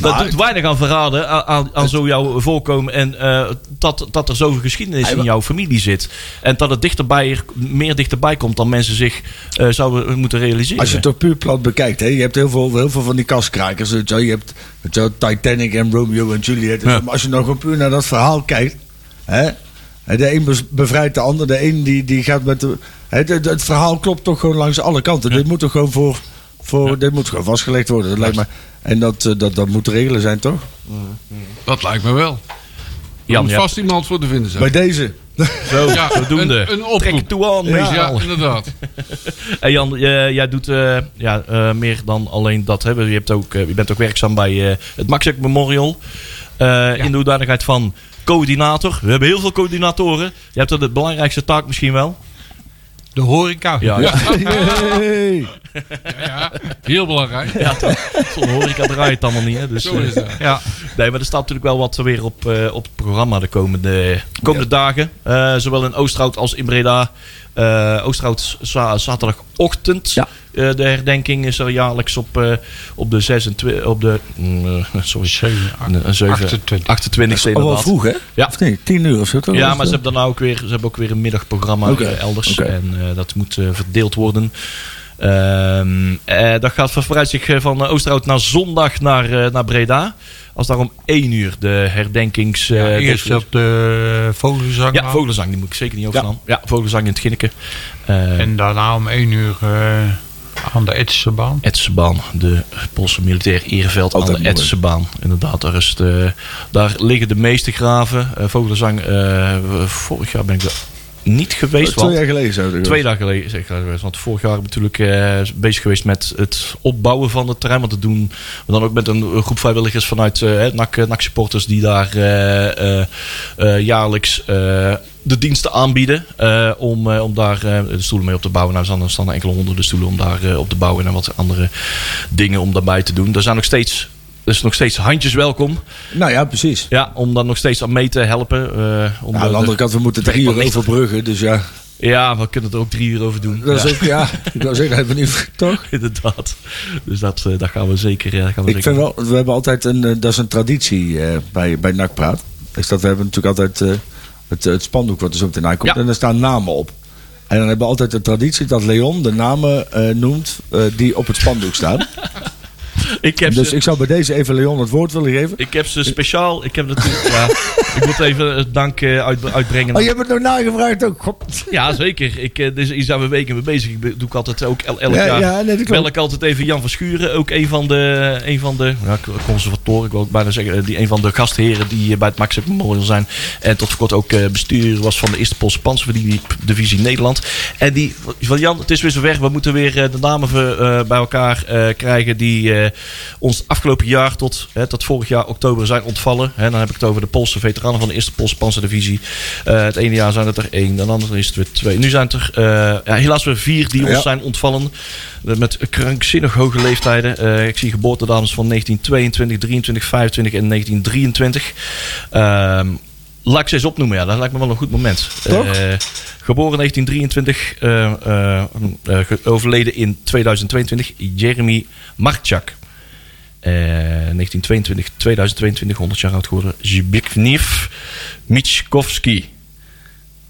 Speaker 2: dat
Speaker 3: Maar-
Speaker 2: doet weinig aan verraden aan, aan, aan zo jouw voorkomen. En eh, dat, dat er zoveel geschiedenis in jouw familie zit. En dat het dichterbij, meer dichterbij komt dan mensen zich eh, zouden moeten realiseren.
Speaker 3: als je het toch puur plat bekijkt, hè, je hebt heel veel, heel veel van die kaskrakers. weet Je wel. Je hebt weet je wel, Titanic en Romeo en Juliet.
Speaker 2: Ja.
Speaker 3: Maar als je nou gewoon puur naar dat verhaal kijkt. Hè, de een bes- bevrijdt de ander, de een die, die gaat met de. Hè, de- de- het verhaal klopt toch gewoon langs alle kanten. Dit moet toch gewoon voor. voor Dit moet gewoon vastgelegd worden. Dat lijkt me, en dat, eh, dat, dat moet te regelen zijn, toch?
Speaker 4: Dat lijkt me wel. Er
Speaker 2: Jan,
Speaker 4: moet
Speaker 2: ja.
Speaker 4: vast iemand voor te vinden zijn.
Speaker 3: Bij deze.
Speaker 2: Zo,
Speaker 4: Ja,
Speaker 2: voldoende.
Speaker 4: een- een oproep.
Speaker 2: Trek toe aan,
Speaker 4: Ja,
Speaker 2: meestal.
Speaker 4: inderdaad.
Speaker 2: Hey Jan, eh, jij doet eh, ja, eh, meer dan alleen dat. Hè? Je, hebt ook, eh, je bent ook werkzaam bij eh, het Maxek Memorial. Eh, In de hoedanigheid van coördinator. We hebben heel veel coördinatoren. Je hebt dan de belangrijkste taak misschien wel.
Speaker 5: De horeca.
Speaker 2: Ja, ja.
Speaker 3: Hey.
Speaker 4: Ja, heel belangrijk.
Speaker 2: zonder horeca draait het allemaal niet. Hè? Dus,
Speaker 4: Zo is
Speaker 2: eh,
Speaker 4: dat.
Speaker 5: Ja.
Speaker 2: Nee, maar er staat natuurlijk wel wat weer op, eh, op het programma de komende, komende dagen. Eh, zowel in Oosterhout als in Breda. Eh Oosterhout za- zaterdagochtend.
Speaker 3: Ja.
Speaker 2: Eh, de herdenking is er jaarlijks op, eh, op de 26... Op de, mm, eh, sorry,
Speaker 5: 28.
Speaker 2: 28
Speaker 3: Al wel
Speaker 2: inderdaad.
Speaker 3: vroeg, hè?
Speaker 2: Ja.
Speaker 3: Of nee, tien uur of zo. toch?
Speaker 2: Ja, maar ze hebben daarna ook weer, ze hebben ook weer een middagprogramma
Speaker 3: Oké,
Speaker 2: eh, elders.
Speaker 3: oké.
Speaker 2: En eh, dat moet eh, verdeeld worden. Ehm, eh, dat gaat vooruit zich eh, van eh, Oosterhout naar zondag naar, eh, naar Breda. Als daar om 1 uur de herdenkings... eh,
Speaker 5: Ja, eerst eh,
Speaker 2: de-
Speaker 5: op de vogelzang.
Speaker 2: ja, Vogelzang, die moet ik zeker niet overslaan. Ja, Vogelzang in het Ginneke. Ehm, en
Speaker 5: En daarna om 1 uur eh, aan de Etsense baan.
Speaker 2: Etsenbaan, de Poolse militair ereveld
Speaker 3: Altijd
Speaker 2: aan de
Speaker 3: mooi.
Speaker 2: Etsenbaan. Inderdaad, daar, is de, daar liggen de meeste graven. Eh, Vogelzang, eh, vorig jaar ben ik daar niet geweest.
Speaker 3: Oh, Twee
Speaker 2: want-
Speaker 3: jaar geleden zouden we-
Speaker 2: Twee dagen geleden zeg ik dat geweest. Want vorig jaar ben ik natuurlijk eh, bezig geweest met het opbouwen van het terrein. Want dat doen we dan ook met een groep vrijwilligers vanuit eh NAC, eh, NAC supporters die daar eh, eh, eh, jaarlijks eh, de diensten aanbieden. eh, om, eh, om daar eh, de stoelen mee op te bouwen. Nou, er staan- er staan enkele honderden stoelen om daar eh, op te bouwen. En wat andere dingen om daarbij te doen. Er zijn nog steeds... Er is nog steeds handjes welkom.
Speaker 3: Nou ja, precies.
Speaker 2: Ja, om dan nog steeds aan mee te helpen. eh, om
Speaker 3: Ja,
Speaker 2: de-
Speaker 3: aan de andere
Speaker 2: de-
Speaker 3: kant, we moeten drie
Speaker 2: werkbaar
Speaker 3: uur
Speaker 2: lichter.
Speaker 3: overbruggen. Dus ja,
Speaker 2: Ja, we kunnen er ook drie uur over doen.
Speaker 3: dat
Speaker 2: Ja.
Speaker 3: is ook, ja, ik wou zeggen, even niet, toch?
Speaker 2: Inderdaad. Dus dat, eh, dat gaan we zeker. eh, dat gaan we
Speaker 3: Ik
Speaker 2: zeker
Speaker 3: vind wel, we hebben altijd een, eh, dat is een traditie eh, bij, bij NAC Praat. Is dat we hebben natuurlijk altijd eh, het, het spandoek wat er zo meteen aankomt.
Speaker 2: Ja.
Speaker 3: En daar staan namen op. En dan hebben we altijd de traditie dat Leon de namen eh, noemt eh, die op het spandoek staan.
Speaker 2: Ik heb
Speaker 3: Dus
Speaker 2: ze-
Speaker 3: ik zou bij deze even Leon het woord willen geven.
Speaker 2: Ik heb ze speciaal. Ik heb natuurlijk. ja, ik moet even het dank eh, uit, uitbrengen.
Speaker 3: Oh, je hebt het nog nagevraagd ook. God.
Speaker 2: Ja, zeker. Ik, eh, dus is daar een week mee bezig. Ik be- doe ik altijd ook el- elk
Speaker 3: Ja,
Speaker 2: jaar.
Speaker 3: ja, nee, dat klopt.
Speaker 2: bel ik altijd even Jan van Schuren. Ook een van de, een van de ja, c- conservatoren, ik wil ook bijna zeggen. eh, Die, een van de gastheren die eh, bij het Max Heck Memorial zijn. En tot voor kort ook eh, bestuurder was van de eerste Poolse Panzerdivisie Nederland. En die van Jan, het is weer zover. We moeten weer eh, de namen ver- eh, bij elkaar eh, krijgen die eh, ons afgelopen jaar tot, hè, tot vorig jaar oktober zijn ontvallen. Hè, dan heb ik het over de Poolse veteranen van de eerste Poolse Panzerdivisie. Eh, het ene jaar zijn het er één, dan andere is het weer twee. Nu zijn het er eh, ja, helaas weer vier die ons
Speaker 3: Ja.
Speaker 2: zijn ontvallen. Eh, Met krankzinnig hoge leeftijden. Eh, ik zie geboortedames van 1922, 23, 25 en 1923. Ehm, laat ik ze eens opnoemen. Ja, dat lijkt me wel een goed moment.
Speaker 3: Toch?
Speaker 2: Eh, geboren 1923, eh, eh, eh, ge- overleden in 2022, Jeremy Marchak. Eh, 1922, 2022, 100 jaar oud geworden. Zbigniew Michkowski.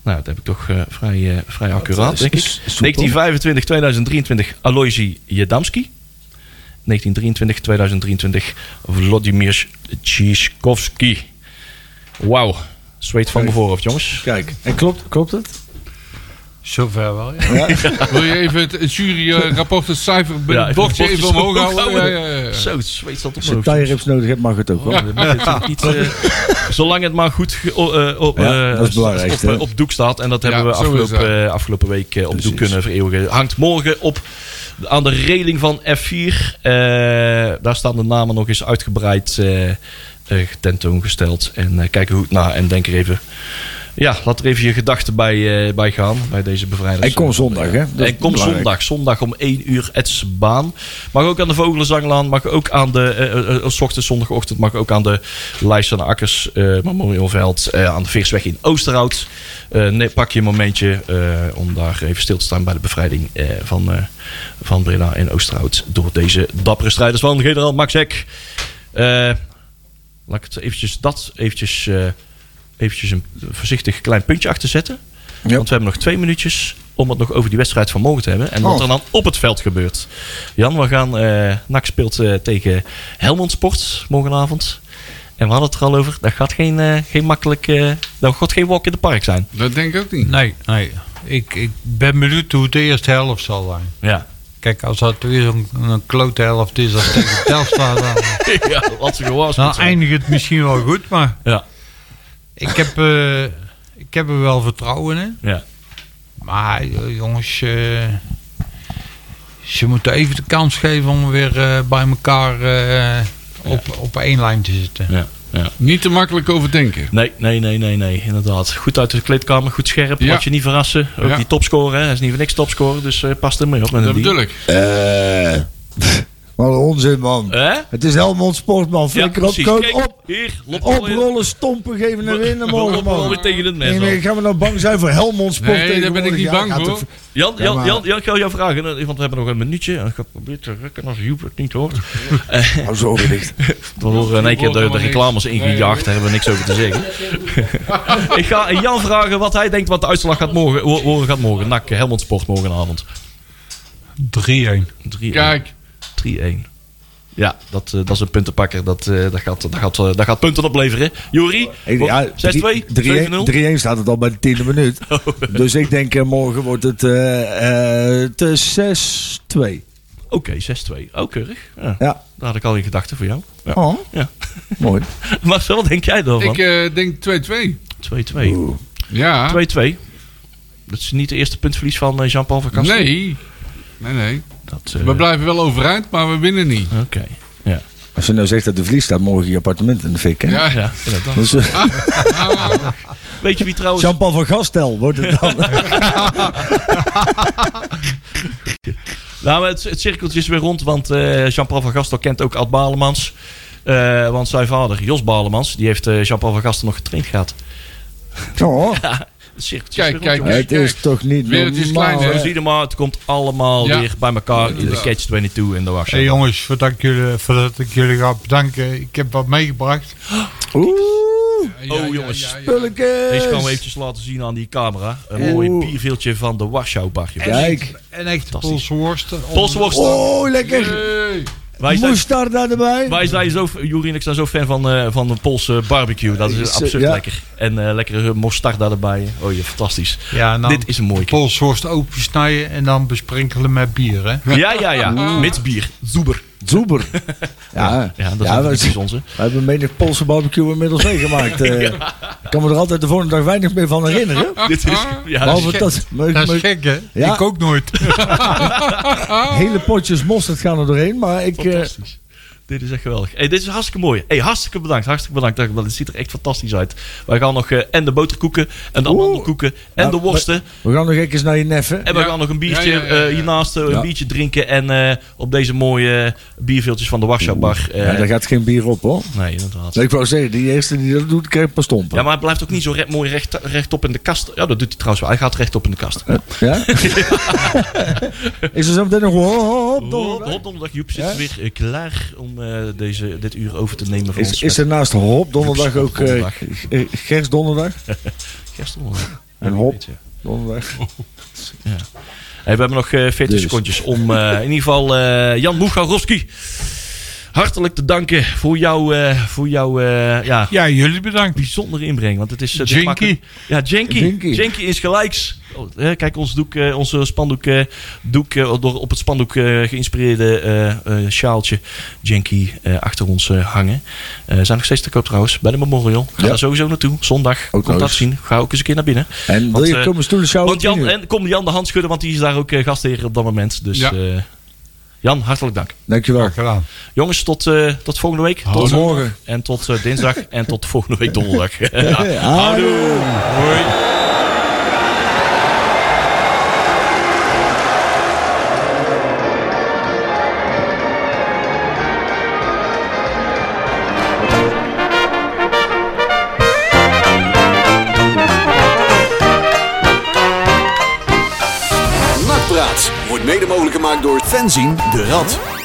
Speaker 2: Nou, dat heb ik toch eh, vrij, eh, vrij accuraat,
Speaker 3: is-
Speaker 2: denk ik.
Speaker 3: is- is soepel.
Speaker 2: 1925, 2023, Aloysi Jedamski. 1923, 2023, Vladimir Tchaikovsky. Wauw. Zweet van mijn voorhoofd, jongens.
Speaker 3: Kijk, en klopt, klopt het?
Speaker 5: Zover wel, ja.
Speaker 4: Wil je even het, het juryrapport, het cijfer,
Speaker 2: Ja,
Speaker 4: het bordje even omhoog houden? Ja, ja, ja.
Speaker 2: Zo, het zweet staat op
Speaker 3: Als je
Speaker 2: mijn hoofd.
Speaker 3: tijrips nodig hebt, mag het ook wel.
Speaker 2: Ja, maar het is niet, eh, zolang het maar goed ge- o- eh, op,
Speaker 3: Ja,
Speaker 2: eh,
Speaker 3: dat is belangrijk,
Speaker 2: op,
Speaker 3: hè?
Speaker 2: op doek staat. En dat
Speaker 4: Ja,
Speaker 2: hebben we
Speaker 4: zo is
Speaker 2: afgelopen,
Speaker 4: dat.
Speaker 2: eh, afgelopen week eh, op doek
Speaker 3: Precies.
Speaker 2: kunnen vereeuwigen. Hangt morgen op, aan de reling van F4. Eh, daar staan de namen nog eens uitgebreid eh, eh, tentoongesteld. En eh, kijk er goed naar en denk er even... Ja, laat er even je gedachten bij, eh, bij gaan. Bij deze bevrijders.
Speaker 3: En kom zondag, hè? Dat is
Speaker 2: en kom
Speaker 3: belangrijk.
Speaker 2: zondag. Zondag om 1 uur Etsbaan. Mag ook aan de Vogelenzanglaan. Mag ook aan de... eh, eh, eh, s ochtends, zondagochtend. Mag ook aan de Lijst van de Akkers eh, Memorialveld. eh, aan de Veersweg in Oosterhout. Eh, nee, pak je een momentje eh, om daar even stil te staan bij de bevrijding eh, van, eh, van Breda en Oosterhout. Door deze dappere strijders van generaal Max Hek. Eh, laat ik het eventjes dat eventjes... eh, Eventjes een voorzichtig klein puntje achter zetten.
Speaker 3: Ja.
Speaker 2: Want we hebben nog twee minuutjes om het nog over die wedstrijd van morgen te hebben. En wat
Speaker 3: Oh.
Speaker 2: er dan op het veld gebeurt. Jan, we gaan. eh NAC speelt eh, tegen Helmond Sport morgenavond. En we hadden het er al over. Dat gaat geen, eh, geen makkelijk. eh, dat gaat geen walk in the park zijn.
Speaker 4: Dat denk ik ook niet.
Speaker 5: Nee, nee. Ik, ik ben benieuwd hoe de eerste helft zal zijn.
Speaker 2: Ja.
Speaker 5: Kijk, als dat weer zo'n een klote helft is als tegen Telstar, dan,
Speaker 2: ja wat ze
Speaker 4: Nou,
Speaker 2: gewaarschuwd
Speaker 5: dan
Speaker 2: zijn.
Speaker 5: eindigt het misschien wel goed. Maar
Speaker 2: Ja.
Speaker 5: ik heb, eh, ik heb er wel vertrouwen in.
Speaker 2: Ja.
Speaker 5: Maar eh, jongens, eh, ze moeten even de kans geven om weer eh, bij elkaar eh, op, op één lijn te zitten.
Speaker 2: ja. ja.
Speaker 4: Niet te makkelijk overdenken.
Speaker 2: Nee, nee, nee, nee, nee, inderdaad. Goed uit de kleedkamer, goed scherp.
Speaker 4: Ja.
Speaker 2: Laat je niet verrassen. Ook
Speaker 4: Ja.
Speaker 2: die topscorer, hè. hij is niet voor niks topscorer, dus eh past er mee op. Met
Speaker 4: Dat
Speaker 2: een
Speaker 4: bedoel
Speaker 2: die.
Speaker 4: ik.
Speaker 3: Eh, Wat een onzin, man.
Speaker 2: Hè?
Speaker 3: Het is Helmond Sportman. Flikker op,
Speaker 2: precies.
Speaker 3: koop
Speaker 2: Kijk,
Speaker 3: op.
Speaker 2: Hier, lop alweer.
Speaker 3: Oprollen, stompen geven en winnen morgen,
Speaker 2: Lopen we
Speaker 3: man.
Speaker 2: alweer tegen het mes
Speaker 3: Nee,
Speaker 2: aan.
Speaker 3: nee, gaan we nou bang zijn voor Helmond Sport
Speaker 4: Nee, daar ben ik
Speaker 3: tegenwoordig? Ja,
Speaker 4: niet bang
Speaker 3: gaat
Speaker 4: voor.
Speaker 3: het-
Speaker 2: Jan,
Speaker 3: Ja,
Speaker 2: Jan,
Speaker 3: maar-
Speaker 2: Jan, Jan, ik wil jou vragen, eh, want we hebben nog een minuutje. En Ik ga proberen te rekken als Joep het niet hoort.
Speaker 3: Nou, zo gericht.
Speaker 2: We horen in één keer de, de reclames ingejaagd, daar hebben we niks over te zeggen. ik ga aan Jan vragen wat hij denkt wat de uitslag gaat morgen, wo- worden gaat morgen. Nak Helmond Sport morgenavond.
Speaker 5: 3-1.
Speaker 2: 3-1.
Speaker 4: Kijk,
Speaker 2: 3-1. Ja, dat, eh, dat is een puntenpakker. Dat, eh, dat, gaat, dat, gaat, eh, dat gaat punten opleveren. Jori,
Speaker 3: Ik- ja,
Speaker 2: 6-2,
Speaker 3: 3-1
Speaker 2: 7-0.
Speaker 3: 3-1 staat het al bij de tiende minuut.
Speaker 4: Oh.
Speaker 3: Dus ik denk eh, morgen wordt het eh, eh, te 6-2.
Speaker 2: Oké, 6-2. Oh, keurig. Ja,
Speaker 3: Ja.
Speaker 2: Daar had ik al in gedachten voor jou. Ja.
Speaker 3: Oh,
Speaker 2: Ja.
Speaker 3: mooi.
Speaker 2: Marcel, wat denk jij dan
Speaker 4: ik
Speaker 2: van?
Speaker 4: eh, denk 2-2.
Speaker 2: 2-2.
Speaker 3: Oeh.
Speaker 4: Ja.
Speaker 2: 2-2. Dat is niet de eerste puntverlies van eh, Jean-Paul van Gastel.
Speaker 4: Nee. Nee, nee.
Speaker 2: Dat, eh,
Speaker 4: We blijven wel overeind, maar we winnen niet.
Speaker 2: Oké. Ja.
Speaker 3: Als je nou zegt dat de vlies staat morgen je appartement in de fik, hè?
Speaker 4: Ja,
Speaker 2: ja, inderdaad.
Speaker 3: Dus, eh,
Speaker 2: Weet je wie trouwens...
Speaker 3: Jean-Paul van Gastel wordt het dan.
Speaker 2: Nou, maar het, het cirkeltje is weer rond, want eh, Jean-Paul van Gastel kent ook Ad Balemans. Eh, want zijn vader, Jos Balemans, die heeft eh, Jean-Paul van Gastel nog getraind gehad.
Speaker 3: Oh,
Speaker 2: Het cirkeltje
Speaker 4: Kijk,
Speaker 2: is weer
Speaker 4: kijk,
Speaker 2: rond, jongens.
Speaker 3: het is toch niet
Speaker 4: Wereldje is
Speaker 3: normaal.
Speaker 4: klein,
Speaker 2: Zo
Speaker 4: hè?
Speaker 2: zie je maar, het komt allemaal
Speaker 4: Ja.
Speaker 2: weer bij elkaar in de
Speaker 4: Inderdaad.
Speaker 2: Catch-22 en de was.
Speaker 5: Hey jongens, voordat ik, jullie, voordat ik jullie ga bedanken, ik heb wat meegebracht.
Speaker 3: Oeh,
Speaker 2: Oh, jongens. Deze gaan we
Speaker 3: pulletjes.
Speaker 2: eventjes laten zien aan die camera. Een mooi
Speaker 3: Oeh.
Speaker 2: bierveeltje van de Warschau-bar.
Speaker 3: Kijk.
Speaker 5: En echte
Speaker 2: Fantastisch.
Speaker 5: Poolse worsten.
Speaker 2: Polsworst.
Speaker 3: Oh, lekker.
Speaker 4: Hey.
Speaker 2: Wij zijn,
Speaker 3: Moestarda erbij.
Speaker 2: wij zijn zo, Juri en ik zijn zo fan van, eh, van de Poolse barbecue. Dat
Speaker 3: Is,
Speaker 2: is
Speaker 3: eh,
Speaker 2: absurd
Speaker 3: ja.
Speaker 2: lekker. En eh, lekkere mostarda erbij. Oh je, fantastisch.
Speaker 5: Ja, nou,
Speaker 2: Dit is een mooi.
Speaker 5: polshorst opensnijden en dan besprinkelen met bier, hè?
Speaker 2: Ja, ja, ja.
Speaker 4: Ah.
Speaker 2: Met bier. Zoeber.
Speaker 3: Zoeber. Ja,
Speaker 2: Ja, dat
Speaker 3: Ja,
Speaker 2: is
Speaker 3: wij-
Speaker 2: precies onze.
Speaker 3: We hebben menig Poolse barbecue inmiddels meegemaakt. eh. Ik kan me er altijd de volgende dag weinig meer van herinneren.
Speaker 2: Dit is,
Speaker 4: Ah.
Speaker 2: ja, dat is-
Speaker 3: Behalve
Speaker 5: gek.
Speaker 3: dat meuk-
Speaker 5: Dat is
Speaker 3: meuk-
Speaker 5: gek, hè?
Speaker 3: Ja.
Speaker 5: Ik ook nooit.
Speaker 3: hele potjes mosterd gaan er doorheen. Maar ik, eh,
Speaker 2: Fantastisch. Dit is echt geweldig. Hey, dit is hartstikke mooi. Hey, hartstikke bedankt. Hartstikke bedankt. Dank je wel. Dit ziet er echt fantastisch uit. Wij gaan nog eh, en de boterkoeken en de
Speaker 3: Oeh.
Speaker 2: amandelkoeken en
Speaker 3: Nou,
Speaker 2: de worsten.
Speaker 3: we gaan nog even naar je neffen.
Speaker 2: En we
Speaker 4: Ja.
Speaker 2: gaan nog een biertje
Speaker 4: Ja, ja, ja, ja.
Speaker 2: eh, hiernaast eh, een
Speaker 3: Ja.
Speaker 2: biertje drinken. En eh, op deze mooie bierveeltjes van de Warschau Bar. eh,
Speaker 3: Ja, daar gaat geen bier op hoor.
Speaker 2: Nee, inderdaad.
Speaker 3: Nee, ik wou zeggen, die eerste die dat doet, krijgt pas stompen.
Speaker 2: Ja, maar het blijft ook niet zo recht, mooi recht, rechtop in de kast. Ja, dat doet hij trouwens wel. Hij gaat rechtop in de kast.
Speaker 3: Eh, Ja? Is er zo meteen nog... Hop,
Speaker 2: Hop,
Speaker 3: donderdag?
Speaker 2: hop, donderdag Joep zit
Speaker 3: Ja?
Speaker 2: weer eh, klaar om eh, deze, dit uur over te nemen voor
Speaker 3: Is,
Speaker 2: ons.
Speaker 3: is er naast Hop donderdag ook eh,
Speaker 2: Donderdag.
Speaker 3: eh, Gers donderdag?
Speaker 2: gisteren?
Speaker 3: En Hop donderdag.
Speaker 2: Hey, we hebben nog eh, 40
Speaker 3: Dus.
Speaker 2: secondjes om eh, in ieder geval eh, Jan Mucharowski hartelijk te danken voor jouw eh, voor jouw eh, ja,
Speaker 5: Ja, jullie bedankt.
Speaker 2: bijzondere inbreng. Want het is... eh, dit
Speaker 5: Jinky.
Speaker 2: maakt het- Ja, Jenky.
Speaker 3: Jinky.
Speaker 2: Jenky. is gelijks. Oh, hè, kijk, ons doek, eh, onze spandoek, eh, doek, eh, door op het spandoek eh, geïnspireerde eh eh sjaaltje Jenky eh, achter ons eh, hangen. Eh, zijn nog steeds te koop trouwens, bij de Memorial. Ga
Speaker 3: Ja.
Speaker 2: daar sowieso naartoe. Zondag,
Speaker 3: nog
Speaker 2: komt dat
Speaker 3: eens.
Speaker 2: zien. Ga ook eens een keer naar binnen.
Speaker 3: En wil
Speaker 2: Want,
Speaker 3: je
Speaker 2: eh,
Speaker 3: komen stoelen sjouwen?
Speaker 2: Want
Speaker 3: op tien
Speaker 2: Jan,
Speaker 3: uur?
Speaker 2: en kom Jan de hand schudden, want die is daar ook eh, gastheer op dat moment. Dus
Speaker 4: Ja.
Speaker 2: eh, Jan, hartelijk dank.
Speaker 3: Dankjewel.
Speaker 5: Gedaan.
Speaker 2: Jongens, tot, eh, tot volgende week.
Speaker 3: Tot
Speaker 2: Tot
Speaker 3: morgen.
Speaker 2: En tot eh, dinsdag en tot volgende week donderdag.
Speaker 3: Hey,
Speaker 2: ja.
Speaker 3: Houdoe.
Speaker 2: Hoi.
Speaker 1: Nakpraat wordt mede mogelijk gemaakt door Fenzin de Rad.